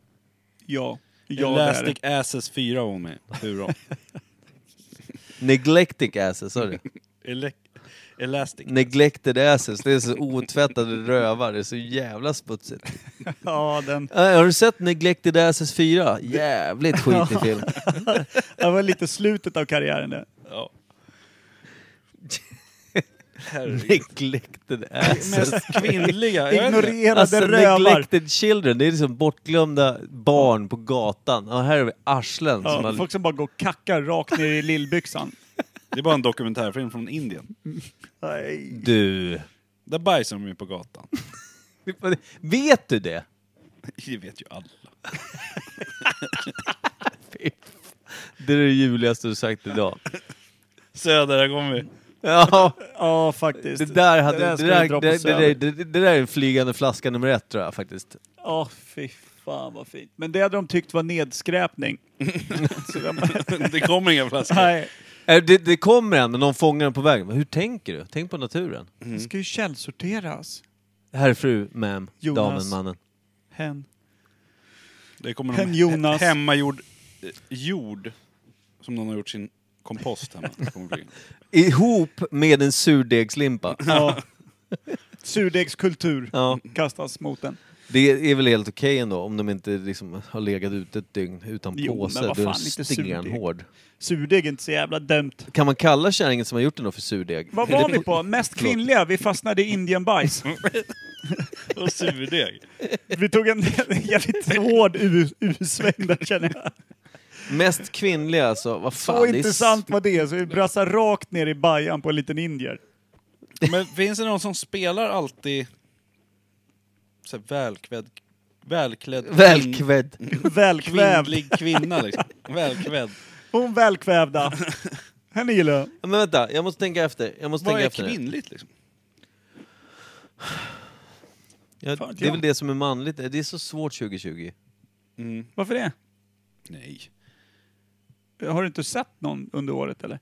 [SPEAKER 1] Ja. Ja, det är det.
[SPEAKER 3] Elastic Asses 4 var hon med. Hurra.
[SPEAKER 2] Neglectic asses, sa du det?
[SPEAKER 3] Ele- Elastic.
[SPEAKER 2] Neglected asses, det är så otvättade rövar, det är så jävla smutsigt.
[SPEAKER 1] Ja, den.
[SPEAKER 2] Äh, har du sett Neglected asses 4? Jävligt skitig film.
[SPEAKER 1] Det var lite slutet av karriären det.
[SPEAKER 3] Ja.
[SPEAKER 2] Neglected asses. Alltså,
[SPEAKER 3] Mest kvinnliga? Jag vet inte.
[SPEAKER 1] Ignorerade rövar.
[SPEAKER 2] neglected children, det är liksom bortglömda barn på gatan. Och här har vi arslen som
[SPEAKER 1] Ja,
[SPEAKER 2] har...
[SPEAKER 1] folk som bara går och kackar rakt ner i lillbyxan.
[SPEAKER 3] Det är bara en dokumentärfilm från Indien.
[SPEAKER 1] Nej.
[SPEAKER 2] Du!
[SPEAKER 3] Där bajsar de ju på gatan.
[SPEAKER 2] Vet du det?
[SPEAKER 3] Det vet ju alla.
[SPEAKER 2] Det är det juligaste du sagt idag.
[SPEAKER 3] Söder, här kommer vi.
[SPEAKER 2] Ja,
[SPEAKER 1] Ja, faktiskt.
[SPEAKER 2] det där, hade, det,
[SPEAKER 1] ska vi dra
[SPEAKER 2] där,
[SPEAKER 1] på
[SPEAKER 2] det, det, där,
[SPEAKER 1] Söder.
[SPEAKER 2] det, det där är en flygande flaska nummer ett tror jag faktiskt.
[SPEAKER 1] Ja, fy fan vad fint. Men det hade de tyckt var nedskräpning. Så de bara,
[SPEAKER 3] Det kommer inga flaskor.
[SPEAKER 1] nej,
[SPEAKER 2] Eh, Det, det kommer en, men någon fångar den på vägen. Men hur tänker du? Tänk på naturen.
[SPEAKER 1] det ska ju källsorteras.
[SPEAKER 2] Herr, fru, ma'am,
[SPEAKER 1] Jonas.
[SPEAKER 2] damen, mannen.
[SPEAKER 1] Hen.
[SPEAKER 3] Det kommer
[SPEAKER 1] Hen
[SPEAKER 3] någon
[SPEAKER 1] Jonas.
[SPEAKER 3] he- hemmagjord eh, jord som någon har gjort sin kompost hemma. Det kommer bli-
[SPEAKER 2] Ihop med en surdegslimpa.
[SPEAKER 1] Ja. Surdegskultur
[SPEAKER 2] Ja,
[SPEAKER 1] kastas mot den.
[SPEAKER 2] det är väl helt okej ändå om de inte liksom har legat ute ett dygn utan
[SPEAKER 1] Jo, men
[SPEAKER 2] påse.
[SPEAKER 1] vad
[SPEAKER 2] Då är
[SPEAKER 1] fan,
[SPEAKER 2] den
[SPEAKER 1] inte surdeg.
[SPEAKER 2] stenhård.
[SPEAKER 1] Surdeg är inte så jävla dömt.
[SPEAKER 2] Kan man kalla kärringen som har gjort den då för surdeg?
[SPEAKER 1] Vad
[SPEAKER 2] Är
[SPEAKER 1] var
[SPEAKER 2] det
[SPEAKER 1] vi på? Mest kvinnliga? Vi fastnade i indienbajs.
[SPEAKER 3] Och surdeg.
[SPEAKER 1] Vi tog en jävligt hård u- U-sväng där känner jag.
[SPEAKER 2] Mest kvinnliga alltså. Vad fan,
[SPEAKER 1] Så
[SPEAKER 2] det är
[SPEAKER 1] intressant var det är, så vi brassar rakt ner i bajan på en liten indier.
[SPEAKER 3] Men finns det någon som spelar alltid så här välklädd, välklädd, kvinn-
[SPEAKER 2] Välkvädd.
[SPEAKER 1] Välkvävd.
[SPEAKER 3] kvinnlig kvinna liksom? Välklädd.
[SPEAKER 1] Hon välkvävda. Henne gillar jag.
[SPEAKER 2] Men vänta, jag måste tänka efter. Jag måste
[SPEAKER 3] Vad
[SPEAKER 2] tänka
[SPEAKER 3] är
[SPEAKER 2] efter. nu.
[SPEAKER 3] kvinnligt liksom?
[SPEAKER 2] Ja,
[SPEAKER 1] Fan,
[SPEAKER 2] det är
[SPEAKER 1] ja.
[SPEAKER 2] väl det som är manligt. Det är så svårt 2020.
[SPEAKER 1] Varför det?
[SPEAKER 3] Mm, Nej.
[SPEAKER 1] Har du inte sett någon under året eller?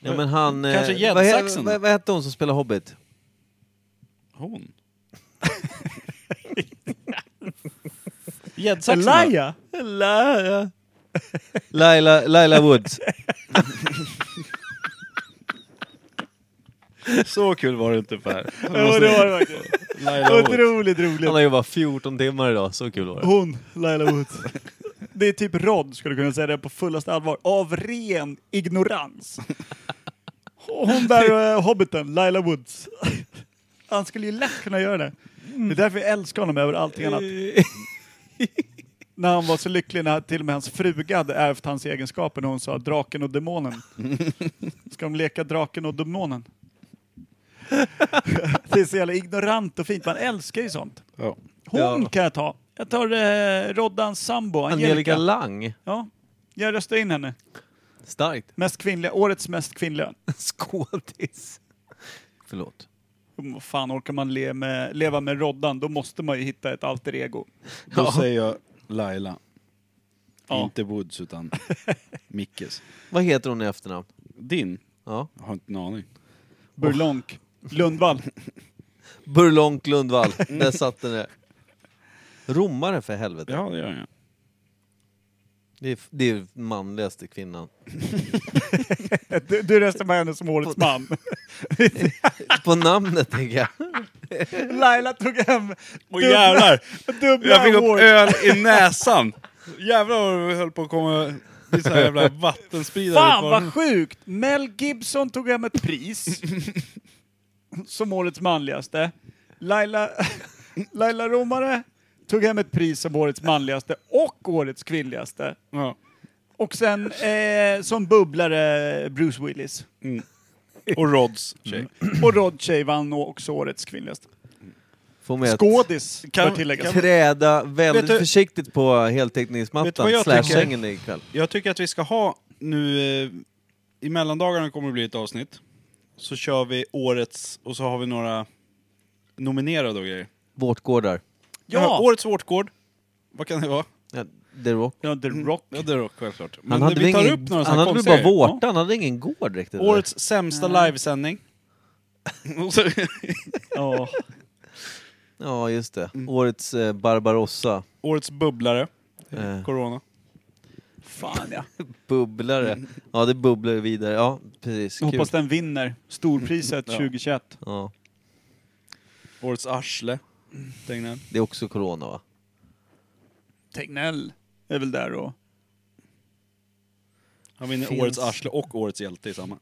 [SPEAKER 2] Ja, men han... eh,
[SPEAKER 3] Kanske
[SPEAKER 2] vad, he-
[SPEAKER 3] gäddsaxen då?
[SPEAKER 2] vad, vad hette hon som spelade Hobbit?
[SPEAKER 3] Hon?
[SPEAKER 1] Elijah?
[SPEAKER 2] Laila. Laila, Laila Woods.
[SPEAKER 3] Så kul var det inte Per.
[SPEAKER 1] Ja, det var det faktiskt.
[SPEAKER 3] Laila Wood.
[SPEAKER 1] Otroligt roligt.
[SPEAKER 2] Han har jobbat 14 timmar idag, så kul var det.
[SPEAKER 1] Hon, Laila Woods. Det är typ Rod, skulle jag kunna säga det på fullaste allvar, av ren ignorans. Hon där, eh, hobbiten, Laila Woods. Han skulle ju lätt kunna göra det. Det är därför jag älskar honom över allting annat. När han var så lycklig när till och med hans fruga hade ärvt hans egenskaper när hon sa draken och demonen. Ska de leka draken och demonen? Det är så jävla ignorant och fint. Man älskar ju sånt.
[SPEAKER 3] Ja.
[SPEAKER 1] Hon
[SPEAKER 2] Ja.
[SPEAKER 1] kan jag ta. Jag tar eh, Roddans sambo, Angelica.
[SPEAKER 2] Angelica Lang.
[SPEAKER 1] Ja, jag röstar in henne.
[SPEAKER 2] Starkt.
[SPEAKER 1] Mest kvinnliga, årets mest kvinnliga.
[SPEAKER 2] Skådis. Förlåt.
[SPEAKER 1] Mm, Vad fan, orkar man le med, leva med Roddan, då måste man ju hitta ett alter ego.
[SPEAKER 3] Då säger jag Laila.
[SPEAKER 1] Ja.
[SPEAKER 3] Inte Woods utan Mickes.
[SPEAKER 2] Vad heter hon i efternamn?
[SPEAKER 3] Din?
[SPEAKER 2] Ja.
[SPEAKER 3] Jag har inte en aning.
[SPEAKER 1] Burlonk. Lundvall.
[SPEAKER 2] Burlonk Lundvall. Där satt den där. Romare för helvete.
[SPEAKER 3] Ja, det gör jag.
[SPEAKER 2] Det är, det är manligaste kvinnan.
[SPEAKER 1] Du, du röstar med henne som årets man.
[SPEAKER 2] På namnet tänker jag.
[SPEAKER 1] Laila tog hem
[SPEAKER 3] Åh jävlar!
[SPEAKER 1] dubbla
[SPEAKER 3] Jag fick upp
[SPEAKER 1] award.
[SPEAKER 3] öl i näsan! Jävlar vad vi höll på att komma... Det är så här jävla vattenspridare
[SPEAKER 1] Fan
[SPEAKER 3] kvar.
[SPEAKER 1] vad sjukt! Mel Gibson tog hem ett pris. som årets manligaste. Laila, Laila Romare tog hem ett pris som årets manligaste och årets kvinnligaste.
[SPEAKER 3] Ja.
[SPEAKER 1] Och sen eh, som bubblare Bruce Willis. Mm.
[SPEAKER 3] Och Rods tjej.
[SPEAKER 1] Och Rod Shea vann också årets kvinnligaste.
[SPEAKER 2] Får med att
[SPEAKER 1] Skådis,
[SPEAKER 3] Kan-
[SPEAKER 1] bör tilläggas.
[SPEAKER 2] träda väldigt
[SPEAKER 3] Vet du-
[SPEAKER 2] försiktigt på
[SPEAKER 3] Vet du vad
[SPEAKER 2] heltäckningsmattan
[SPEAKER 3] jag
[SPEAKER 2] slash
[SPEAKER 3] tycker?
[SPEAKER 2] sängen ikväll.
[SPEAKER 3] Jag tycker att vi ska ha nu... eh, I mellandagarna kommer det bli ett avsnitt. Så kör vi årets och så har vi några nominerade och grejer.
[SPEAKER 2] Vårtgårdar.
[SPEAKER 3] Ja.
[SPEAKER 1] Ja!
[SPEAKER 3] årets vårtgård. Vad kan det vara? Mm.
[SPEAKER 2] Ja, The Rock.
[SPEAKER 1] ja, The Rock.
[SPEAKER 3] Ja, det är rock, självklart. Men
[SPEAKER 2] Han hade,
[SPEAKER 3] vi
[SPEAKER 2] väl
[SPEAKER 3] tar
[SPEAKER 2] ingen,
[SPEAKER 3] upp några
[SPEAKER 2] han
[SPEAKER 3] sådana
[SPEAKER 2] hade väl bara vårta, han hade ingen gård riktigt. eller?
[SPEAKER 3] Årets sämsta livesändning. Och så-
[SPEAKER 1] Ja.
[SPEAKER 2] Ja, just det.
[SPEAKER 3] Mm.
[SPEAKER 2] Årets eh, Barbarossa.
[SPEAKER 3] årets bubblare.
[SPEAKER 2] Eh.
[SPEAKER 3] Corona.
[SPEAKER 1] Fan ja.
[SPEAKER 2] Bubblare.
[SPEAKER 3] Mm.
[SPEAKER 2] Ja, det bubblar ju vidare. Ja, precis. Kul.
[SPEAKER 1] Hoppas den vinner storpriset 2021.
[SPEAKER 2] Ja,
[SPEAKER 3] Årets arsle. Tegnell.
[SPEAKER 2] det är också corona va?
[SPEAKER 1] Tegnell är väl där och...
[SPEAKER 3] Han vinner
[SPEAKER 2] Finns.
[SPEAKER 3] årets arsle och årets hjälte i samma.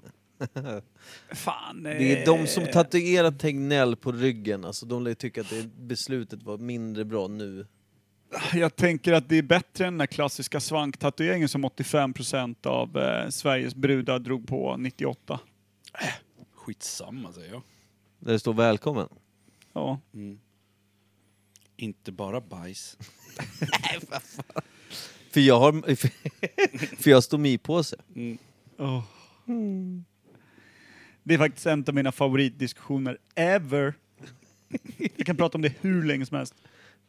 [SPEAKER 1] Fan.
[SPEAKER 2] Det är
[SPEAKER 1] eh,
[SPEAKER 2] de som tatuerar Tegnell på ryggen, alltså de lär ju tycka att det beslutet var mindre bra nu.
[SPEAKER 1] Jag tänker att det är bättre än den här klassiska svanktatueringen som 85% av eh, Sveriges brudar drog på 98.
[SPEAKER 3] Skitsamma säger jag.
[SPEAKER 2] Där det står välkommen.
[SPEAKER 1] Ja.
[SPEAKER 3] Inte bara bajs.
[SPEAKER 2] För jag har... För jag har stomipåse.
[SPEAKER 1] Oh. Det är faktiskt en av mina favoritdiskussioner ever. Jag kan prata om det hur länge som helst.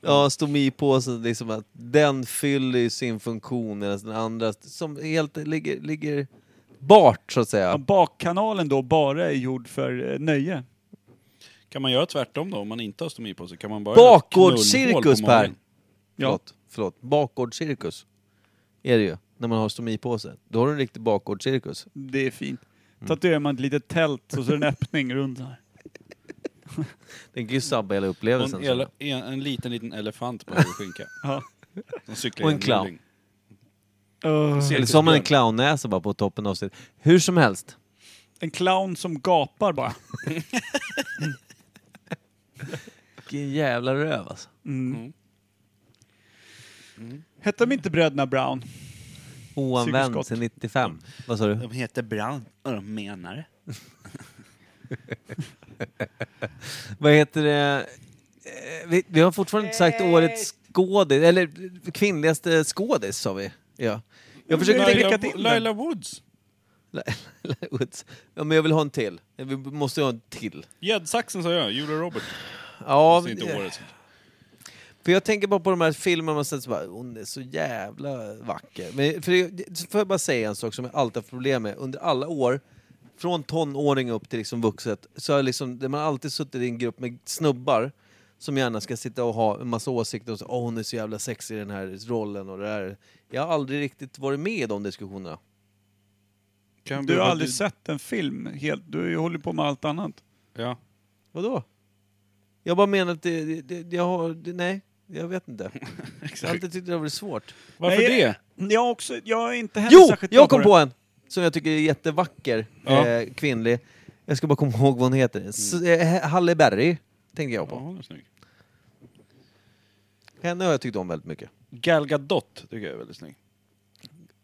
[SPEAKER 2] Ja, stomipåsen, liksom att den fyller ju sin funktion medan den andra som helt ligger, ligger bart så att
[SPEAKER 1] Ja,
[SPEAKER 2] säga.
[SPEAKER 1] bakkanalen då bara är gjord för eh, nöje.
[SPEAKER 7] Kan man göra tvärtom då om man inte har stomipåse? Kan man bara göra knullhål
[SPEAKER 2] Bakgårdscirkus
[SPEAKER 7] på
[SPEAKER 2] Per!
[SPEAKER 7] magen?
[SPEAKER 2] Förlåt, förlåt. Bakgårdscirkus är det ju, när man har stomipåse. Då har du en riktig bakgårdscirkus.
[SPEAKER 1] Det är fint. Tatuerar man ett litet tält och så är det en öppning runt här.
[SPEAKER 2] Den kan ju sabba hela
[SPEAKER 7] Och
[SPEAKER 2] upplevelsen.
[SPEAKER 7] En,
[SPEAKER 2] så.
[SPEAKER 7] ele- en, en liten, liten elefant på en skinka.
[SPEAKER 1] Ja.
[SPEAKER 7] De cyklar
[SPEAKER 2] Och
[SPEAKER 7] i
[SPEAKER 2] en clown.
[SPEAKER 7] muling.
[SPEAKER 1] Öh.
[SPEAKER 2] Eller så har man en clownnäsa bara på toppen av sig. Hur som helst.
[SPEAKER 1] En clown som gapar bara.
[SPEAKER 2] Vilken jävla röv alltså.
[SPEAKER 1] Hette de inte Bröderna Brown?
[SPEAKER 2] Oanvänd
[SPEAKER 1] Psykoskott.
[SPEAKER 2] sedan 95. Vad sa du?
[SPEAKER 7] De heter Brown och de menar det.
[SPEAKER 2] Vad heter det? Eh, Vi, vi har fortfarande inte sagt årets skådis, eller kvinnligaste skådis sa vi. Ja. Jag försöker tänka...
[SPEAKER 1] prickat
[SPEAKER 7] Laila,
[SPEAKER 1] in den.
[SPEAKER 7] Laila Woods.
[SPEAKER 2] Woods. Ja, men jag vill ha en till. Vi måste ha en till.
[SPEAKER 7] Gäddsaxen sa jag, Julia Robert.
[SPEAKER 2] Ja,
[SPEAKER 7] Fast inte årets.
[SPEAKER 2] för jag tänker bara på de här filmerna man sett så bara, hon är så jävla vacker. Men för det, så får jag bara säga en sak som jag alltid haft problem med under alla år, från tonåring upp till liksom vuxet, så har jag liksom, man har alltid suttit i en grupp med snubbar som gärna ska sitta och ha en massa åsikter och så, åh hon är så jävla sexig i den här rollen och det där. Jag har aldrig riktigt varit med i de diskussionerna.
[SPEAKER 7] Kan
[SPEAKER 1] Du
[SPEAKER 7] bli-
[SPEAKER 1] har aldrig sett en film helt. Du håller på med allt annat.
[SPEAKER 7] Ja.
[SPEAKER 2] Vadå? Jag bara menar att det, det, det jag har, det, nej, jag vet inte. Jag har alltid tyckt det har varit svårt.
[SPEAKER 7] Varför
[SPEAKER 1] Nej,
[SPEAKER 7] det?
[SPEAKER 1] Jag, har också, jag är inte heller
[SPEAKER 2] Jo!
[SPEAKER 1] särskilt bra
[SPEAKER 2] Jag kom
[SPEAKER 1] det.
[SPEAKER 2] på en! Som jag tycker är jättevacker,
[SPEAKER 7] Ja.
[SPEAKER 2] eh, kvinnlig. Jag ska bara komma ihåg vad hon heter.
[SPEAKER 1] Mm.
[SPEAKER 2] S- eh, Halle Berry, tänkte jag
[SPEAKER 7] Ja,
[SPEAKER 2] på.
[SPEAKER 7] hon är snygg.
[SPEAKER 2] Henne har jag tyckt om väldigt mycket.
[SPEAKER 7] Gal Gadot tycker jag är väldigt snygg.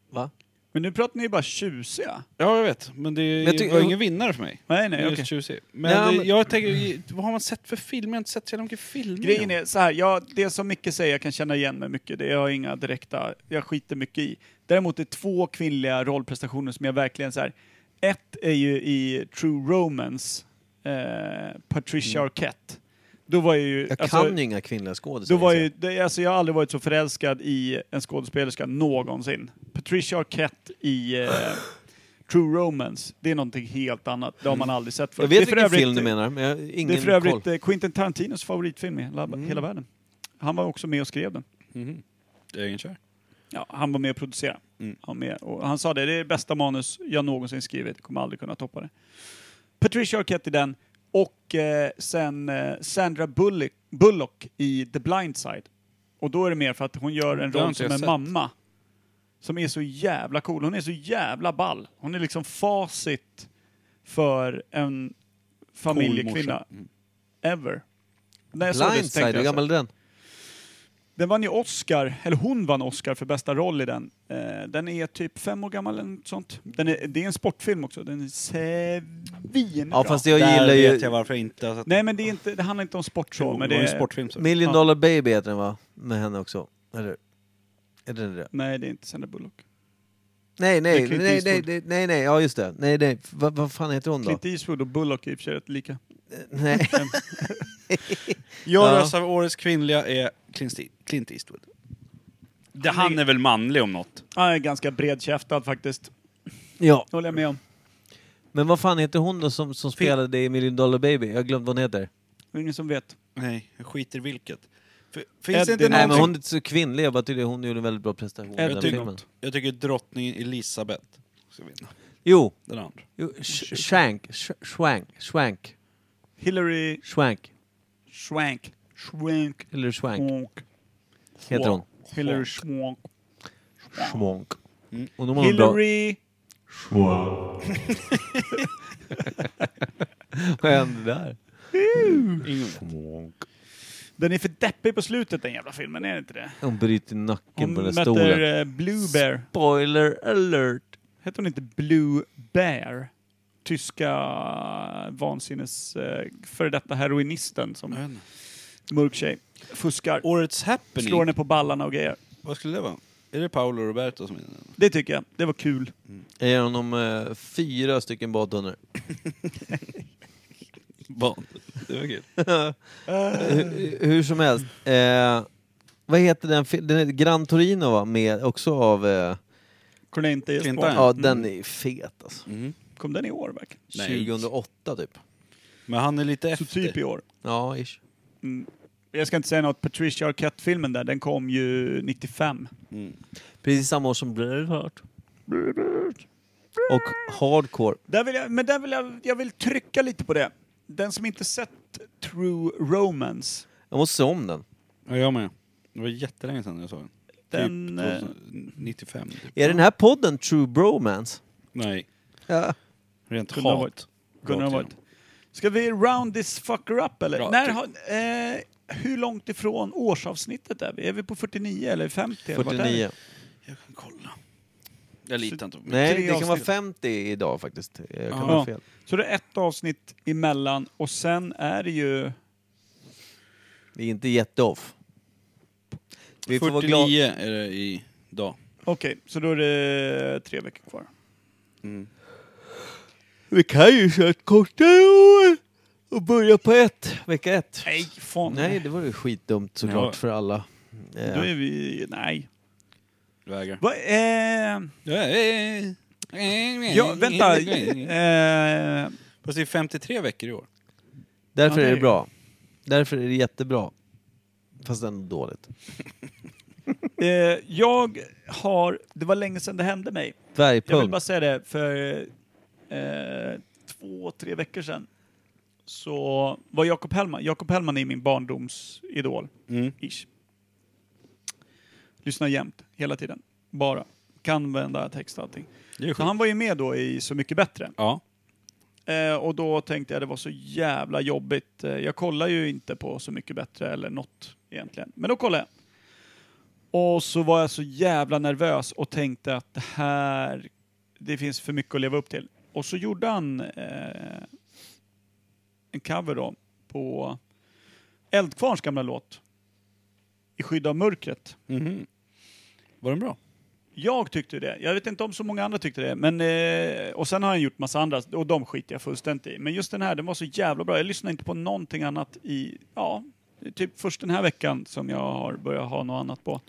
[SPEAKER 2] Va?
[SPEAKER 1] Men nu pratar ni ju bara tjusiga.
[SPEAKER 7] Ja, jag vet. Men det
[SPEAKER 2] jag tycker-
[SPEAKER 7] var ingen vinnare för mig.
[SPEAKER 1] Nej, nej,
[SPEAKER 7] Nej,
[SPEAKER 1] okej.
[SPEAKER 7] just tjusig. Men,
[SPEAKER 2] Ja,
[SPEAKER 7] det-
[SPEAKER 2] men-
[SPEAKER 7] jag tänker, vad har man sett för film? Jag har inte sett så jävla mycket film.
[SPEAKER 1] Grejen är så här, jag, det som Micke säger jag kan känna igen mig mycket, det har jag inga direkta, jag skiter mycket i. Däremot är två kvinnliga rollprestationer som jag verkligen så här. ett är ju i True Romance, eh, Patricia Arquette. Då var jag ju...
[SPEAKER 2] Jag
[SPEAKER 1] alltså,
[SPEAKER 2] kan ju inga kvinnliga skådisar.
[SPEAKER 1] då var
[SPEAKER 2] inser
[SPEAKER 1] ju, det, alltså jag har aldrig varit så förälskad i en skådespelerska någonsin. Patricia Arquette i eh, True Romance, det är någonting helt annat. Det har man aldrig sett
[SPEAKER 2] Mm. jag.
[SPEAKER 1] förut.
[SPEAKER 2] jag vet
[SPEAKER 1] det är för
[SPEAKER 2] vilken
[SPEAKER 1] övrigt-
[SPEAKER 2] film du menar, men jag har ingen
[SPEAKER 1] det är för övrigt
[SPEAKER 2] koll. Mm.
[SPEAKER 1] eh, Quentin Tarantinos favoritfilm i hela, hela världen. Han var också med och skrev den.
[SPEAKER 7] Mhm. Egenkär.
[SPEAKER 1] Ja, han var med och producerade.
[SPEAKER 7] Mm.
[SPEAKER 1] Han, var med, och han sa det, det är det bästa manus jag någonsin skrivit, kommer aldrig kunna toppa det. Patricia Arquette i den och eh, sen eh, Sandra Bullock, Bullock i The Blind Side. Och då är det mer för att hon gör en
[SPEAKER 7] Det har
[SPEAKER 1] roll
[SPEAKER 7] inte
[SPEAKER 1] som en
[SPEAKER 7] jag sett.
[SPEAKER 1] mamma. Som är så jävla cool. Hon är så jävla ball. Hon är liksom facit för en familjekvinna.
[SPEAKER 7] Mm.
[SPEAKER 1] Ever. När jag såg det så tänkte
[SPEAKER 2] Blindside,
[SPEAKER 1] jag
[SPEAKER 2] hur
[SPEAKER 1] så här,
[SPEAKER 2] gammal är den?
[SPEAKER 1] den vann ju Oscar, eller hon vann Oscar för bästa roll i den. Eh, den är typ fem år gammal eller något sånt. Den är, det är en sportfilm också, den är svinbra.
[SPEAKER 2] Ja fast jag
[SPEAKER 7] Där
[SPEAKER 2] gillar
[SPEAKER 7] vet jag
[SPEAKER 2] ju...
[SPEAKER 7] varför jag inte har sett
[SPEAKER 1] Nej men det, är inte, det handlar inte om sport så, men det
[SPEAKER 7] en
[SPEAKER 1] är...
[SPEAKER 7] sportfilm. Så.
[SPEAKER 2] Million
[SPEAKER 1] Ja.
[SPEAKER 2] Dollar Baby heter den va? Med henne också. Eller? Är det det?
[SPEAKER 1] Nej, det är inte Sandra Bullock.
[SPEAKER 2] Nej,
[SPEAKER 1] Det är
[SPEAKER 2] nej,
[SPEAKER 1] Clint
[SPEAKER 2] nej, nej,
[SPEAKER 1] Eastwood.
[SPEAKER 2] nej, nej, nej, ja just det. Nej, nej, vad vad fan heter hon då?
[SPEAKER 1] Clint E- Eastwood och Bullock är i och för sig rätt lika.
[SPEAKER 2] Nej.
[SPEAKER 7] Jag
[SPEAKER 2] Ja.
[SPEAKER 7] röstar på årets kvinnliga är Clint East- Clint Eastwood. Det, han är väl manlig om något?
[SPEAKER 1] Han är ganska bredkäftad faktiskt,
[SPEAKER 2] Ja,
[SPEAKER 1] det håller jag med om.
[SPEAKER 2] Men vad fan heter hon då som, som spelade i Million Dollar Baby? Jag har glömt vad hon heter.
[SPEAKER 1] Det är ingen som vet.
[SPEAKER 7] Nej, jag skiter vilket. För, finns det
[SPEAKER 1] Eddie
[SPEAKER 7] inte
[SPEAKER 2] Nej men
[SPEAKER 7] någonting...
[SPEAKER 2] hon är inte så kvinnlig, jag bara tyckte hon gjorde en väldigt bra prestation i
[SPEAKER 1] Eddie
[SPEAKER 2] den
[SPEAKER 1] tycker
[SPEAKER 2] filmen.
[SPEAKER 7] Jag tycker drottningen Elisabeth ska vinna.
[SPEAKER 2] Jo,
[SPEAKER 7] Den andra.
[SPEAKER 2] jo sh- Shank, sh- Swank, Swank,
[SPEAKER 1] Hillary
[SPEAKER 2] Swank,
[SPEAKER 1] Swank. Schwank.
[SPEAKER 2] eller Swank
[SPEAKER 1] Schwank.
[SPEAKER 2] heter hon.
[SPEAKER 1] Hillary Schwank.
[SPEAKER 2] Schwank. Och de har en bra
[SPEAKER 1] Hillary...
[SPEAKER 2] skämt där.
[SPEAKER 1] Den är för deppig på slutet den jävla filmen, är det inte det?
[SPEAKER 2] Hon bryter nacken
[SPEAKER 1] Hon
[SPEAKER 2] på den där
[SPEAKER 1] möter
[SPEAKER 2] stolen.
[SPEAKER 1] eh, Blue Bear.
[SPEAKER 2] Spoiler alert!
[SPEAKER 1] Hette hon inte Blue Bear? Tyska vansinnes... eh, Före detta heroinisten som
[SPEAKER 7] vet inte.
[SPEAKER 1] mörk tjej. Fuskar.
[SPEAKER 7] Årets happening,
[SPEAKER 1] Slår henne på ballarna och grejer.
[SPEAKER 7] vad skulle det vara? Är det Paolo Roberto som är inne?
[SPEAKER 1] Det tycker jag. Det var kul.
[SPEAKER 2] Jag ger honom eh, fyra stycken badtunnor.
[SPEAKER 7] Bond. Det var kul.
[SPEAKER 2] hur, hur som helst. Eh, vad heter den? fi- den heter Gran Torino va? Med, också av... Eh,
[SPEAKER 1] Corinthians
[SPEAKER 7] Clinton.
[SPEAKER 1] Sport.
[SPEAKER 2] ja, den är fet alltså.
[SPEAKER 7] Mhm.
[SPEAKER 1] Mm. Kom den i år verkligen?
[SPEAKER 3] Nej.
[SPEAKER 2] 2008 typ.
[SPEAKER 7] Men han är lite
[SPEAKER 1] Så
[SPEAKER 7] efter.
[SPEAKER 1] typ i år.
[SPEAKER 2] Ja, ish.
[SPEAKER 1] Jag ska inte säga något, Patricia Arquette-filmen där, den kom ju 95.
[SPEAKER 2] Precis samma år som Braveheart. Och Hardcore.
[SPEAKER 1] Där vill jag, men där vill jag, jag vill trycka lite på det. Den som inte sett True Romance,
[SPEAKER 2] Jag måste se om den.
[SPEAKER 7] Ja, jag med. Det var jättelänge sedan jag såg den.
[SPEAKER 1] den... eh,
[SPEAKER 7] typ 1995. Typ.
[SPEAKER 2] Är den här podden True Bromance?
[SPEAKER 7] Nej,
[SPEAKER 2] Ja.
[SPEAKER 7] rent
[SPEAKER 1] Kunde ha
[SPEAKER 7] hat.
[SPEAKER 1] Kunde ha
[SPEAKER 7] Rakt
[SPEAKER 1] varit.
[SPEAKER 7] igenom.
[SPEAKER 1] Ska vi round this fucker up eller?
[SPEAKER 7] Ja,
[SPEAKER 1] När
[SPEAKER 7] typ.
[SPEAKER 1] har, eh, hur långt ifrån årsavsnittet är vi? Är vi på 49 eller 50? eller vart är vi?
[SPEAKER 2] 49.
[SPEAKER 7] Jag kan kolla. Jag litar inte på mig.
[SPEAKER 2] Nej,
[SPEAKER 1] Tre
[SPEAKER 2] det kan vara
[SPEAKER 1] avsnitt.
[SPEAKER 2] 50 idag faktiskt. Jag kan
[SPEAKER 1] Ja.
[SPEAKER 2] ha fel.
[SPEAKER 1] Så det är ett avsnitt emellan och sen är det ju...
[SPEAKER 2] Det är inte jätteoff. Vi får vara glada.
[SPEAKER 7] 49 är det idag.
[SPEAKER 1] Okej, så då är det tre veckor kvar.
[SPEAKER 2] Vi kan ju köra ett kortare år och börja på ett, vecka ett.
[SPEAKER 1] Nej, fan.
[SPEAKER 2] Nej, det vore ju skitdumt såklart för alla. Eh,
[SPEAKER 1] Då är vi... Nej.
[SPEAKER 7] Vägrar.
[SPEAKER 1] Va, eh,
[SPEAKER 7] Ja,
[SPEAKER 1] ja, vänta. Eh,
[SPEAKER 7] Fast det är 53 veckor i år.
[SPEAKER 2] Därför
[SPEAKER 1] Ja, det
[SPEAKER 2] är
[SPEAKER 1] är-
[SPEAKER 2] det bra. Därför är det jättebra. Fast ändå dåligt.
[SPEAKER 1] eh, jag har... Det var länge sedan det hände mig. Jag vill
[SPEAKER 2] Dvärgpung.
[SPEAKER 1] bara säga det, för eh, två, tre veckor sedan så var Jakob Hellman, Jakob Hellman är min barndomsidol,
[SPEAKER 2] Mm.
[SPEAKER 1] ish. Lyssnar jämt, hela tiden, bara. Kan vända text och allting.
[SPEAKER 7] Det är
[SPEAKER 1] Så
[SPEAKER 7] sjukt.
[SPEAKER 1] han var ju med då i Så Mycket Bättre.
[SPEAKER 7] Ja.
[SPEAKER 1] Eh, och då tänkte jag det var så jävla jobbigt. Eh, jag kollar ju inte på Så mycket bättre eller något egentligen. Men då kollade jag. Och så var jag så jävla nervös och tänkte att det här, det finns för mycket att leva upp till. Och så gjorde han eh, en cover då på Eldkvarns gamla låt I skydd av mörkret.
[SPEAKER 7] Mhm. Var den bra?
[SPEAKER 1] Jag tyckte det. Jag vet inte om så många andra tyckte det. Men, eh, och sen har han gjort massa andra och de skiter jag fullständigt i. Men just den här, den var så jävla bra. Jag lyssnar inte på någonting annat i, ja, det är typ först den här veckan som jag har börjat ha något annat på.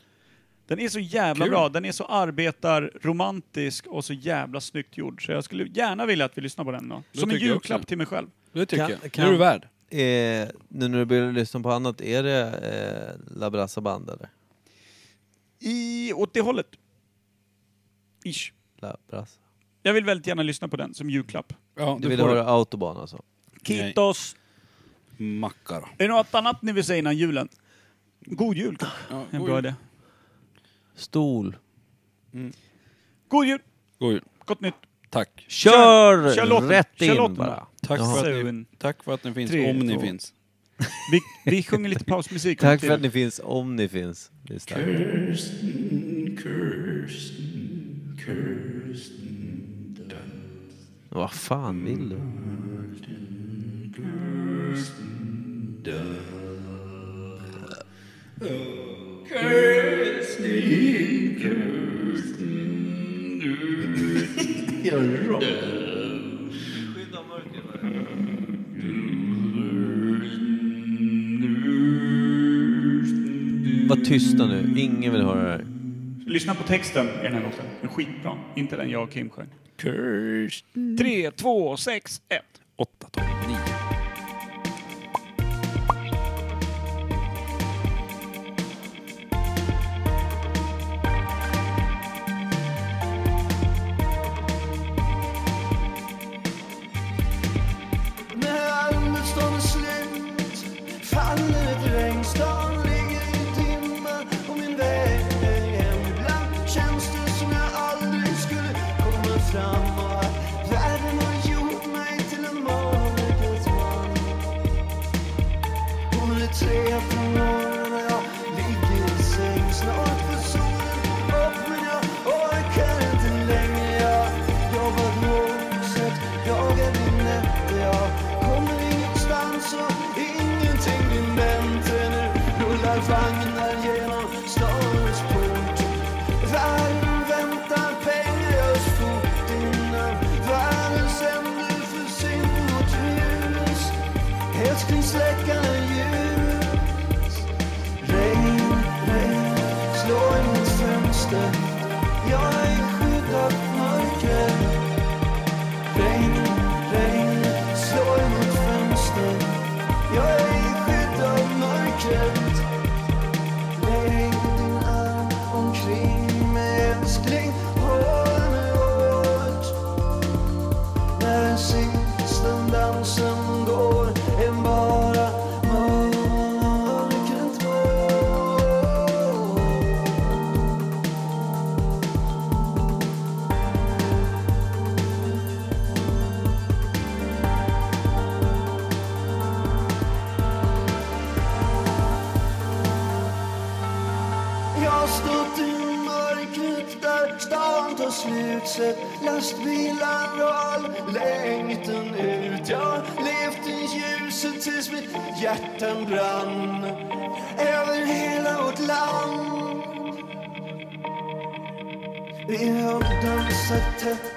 [SPEAKER 1] Den är så jävla
[SPEAKER 7] Kul.
[SPEAKER 1] bra. Den är så arbetarromantisk och så jävla snyggt gjord. Så jag skulle gärna vilja att vi lyssnar på den då.
[SPEAKER 7] Det
[SPEAKER 1] Som en
[SPEAKER 7] tycker jag
[SPEAKER 1] julklapp
[SPEAKER 7] också.
[SPEAKER 1] till mig själv.
[SPEAKER 7] Det tycker
[SPEAKER 2] Kan-
[SPEAKER 7] jag.
[SPEAKER 2] kan-
[SPEAKER 7] Det är du värd.
[SPEAKER 2] Eh, nu när du börjar lyssna på annat, är det eh, La Brassa Band eller?
[SPEAKER 1] I, åt det hållet. Ish.
[SPEAKER 2] La Brassa.
[SPEAKER 1] Jag vill väldigt gärna lyssna på den som julklapp.
[SPEAKER 7] Ja,
[SPEAKER 2] Du vill höra Autobahn alltså?
[SPEAKER 1] Kitos.
[SPEAKER 7] macka då.
[SPEAKER 1] Är det något annat ni vill säga innan julen? God jul kanske?
[SPEAKER 7] Ja,
[SPEAKER 1] En bra idé.
[SPEAKER 2] Stol.
[SPEAKER 1] God jul!
[SPEAKER 7] God jul.
[SPEAKER 1] Gott nytt!
[SPEAKER 7] Tack.
[SPEAKER 2] Kör,
[SPEAKER 1] Kör- kör låten.
[SPEAKER 2] rätt
[SPEAKER 1] Kör låten
[SPEAKER 2] in bara.
[SPEAKER 7] Tack
[SPEAKER 2] Jaha.
[SPEAKER 7] för, att ni,
[SPEAKER 1] Seven.
[SPEAKER 7] tack för att ni finns,
[SPEAKER 1] Tre,
[SPEAKER 7] om ni
[SPEAKER 1] två.
[SPEAKER 7] finns.
[SPEAKER 1] Vi, vi sjunger lite pausmusik.
[SPEAKER 2] Tack för att ni finns, om ni finns. Det är starkt. Vad fan vill du? Var tysta nu, ingen vill höra det här.
[SPEAKER 1] Lyssna på texten i den här låten. Den är skitbra. Inte den jag och Kim sjöng. Tre, två, sex, ett.
[SPEAKER 7] 8, 12, 9.
[SPEAKER 9] Med halmstaden slut faller ett regn. Stan ligger i dimma och min väg är hem. Ibland känns det som jag aldrig skulle komma fram och att världen har gjort mig till en månlös man. Hon är tre på morgonen och jag ligger i säng. Snart går solen upp men jag orkar inte längre. Jag jobbat långsamt, jagar din nätter. Jag kommer ingenstans och ingenting blir bättre. Nu rullar vagnar genom stadens port. tar slut Sett lastbilar och all längtan ut Jag har levt i ljuset tills mitt hjärta brann Över hela vårt land Vi har dansat tätt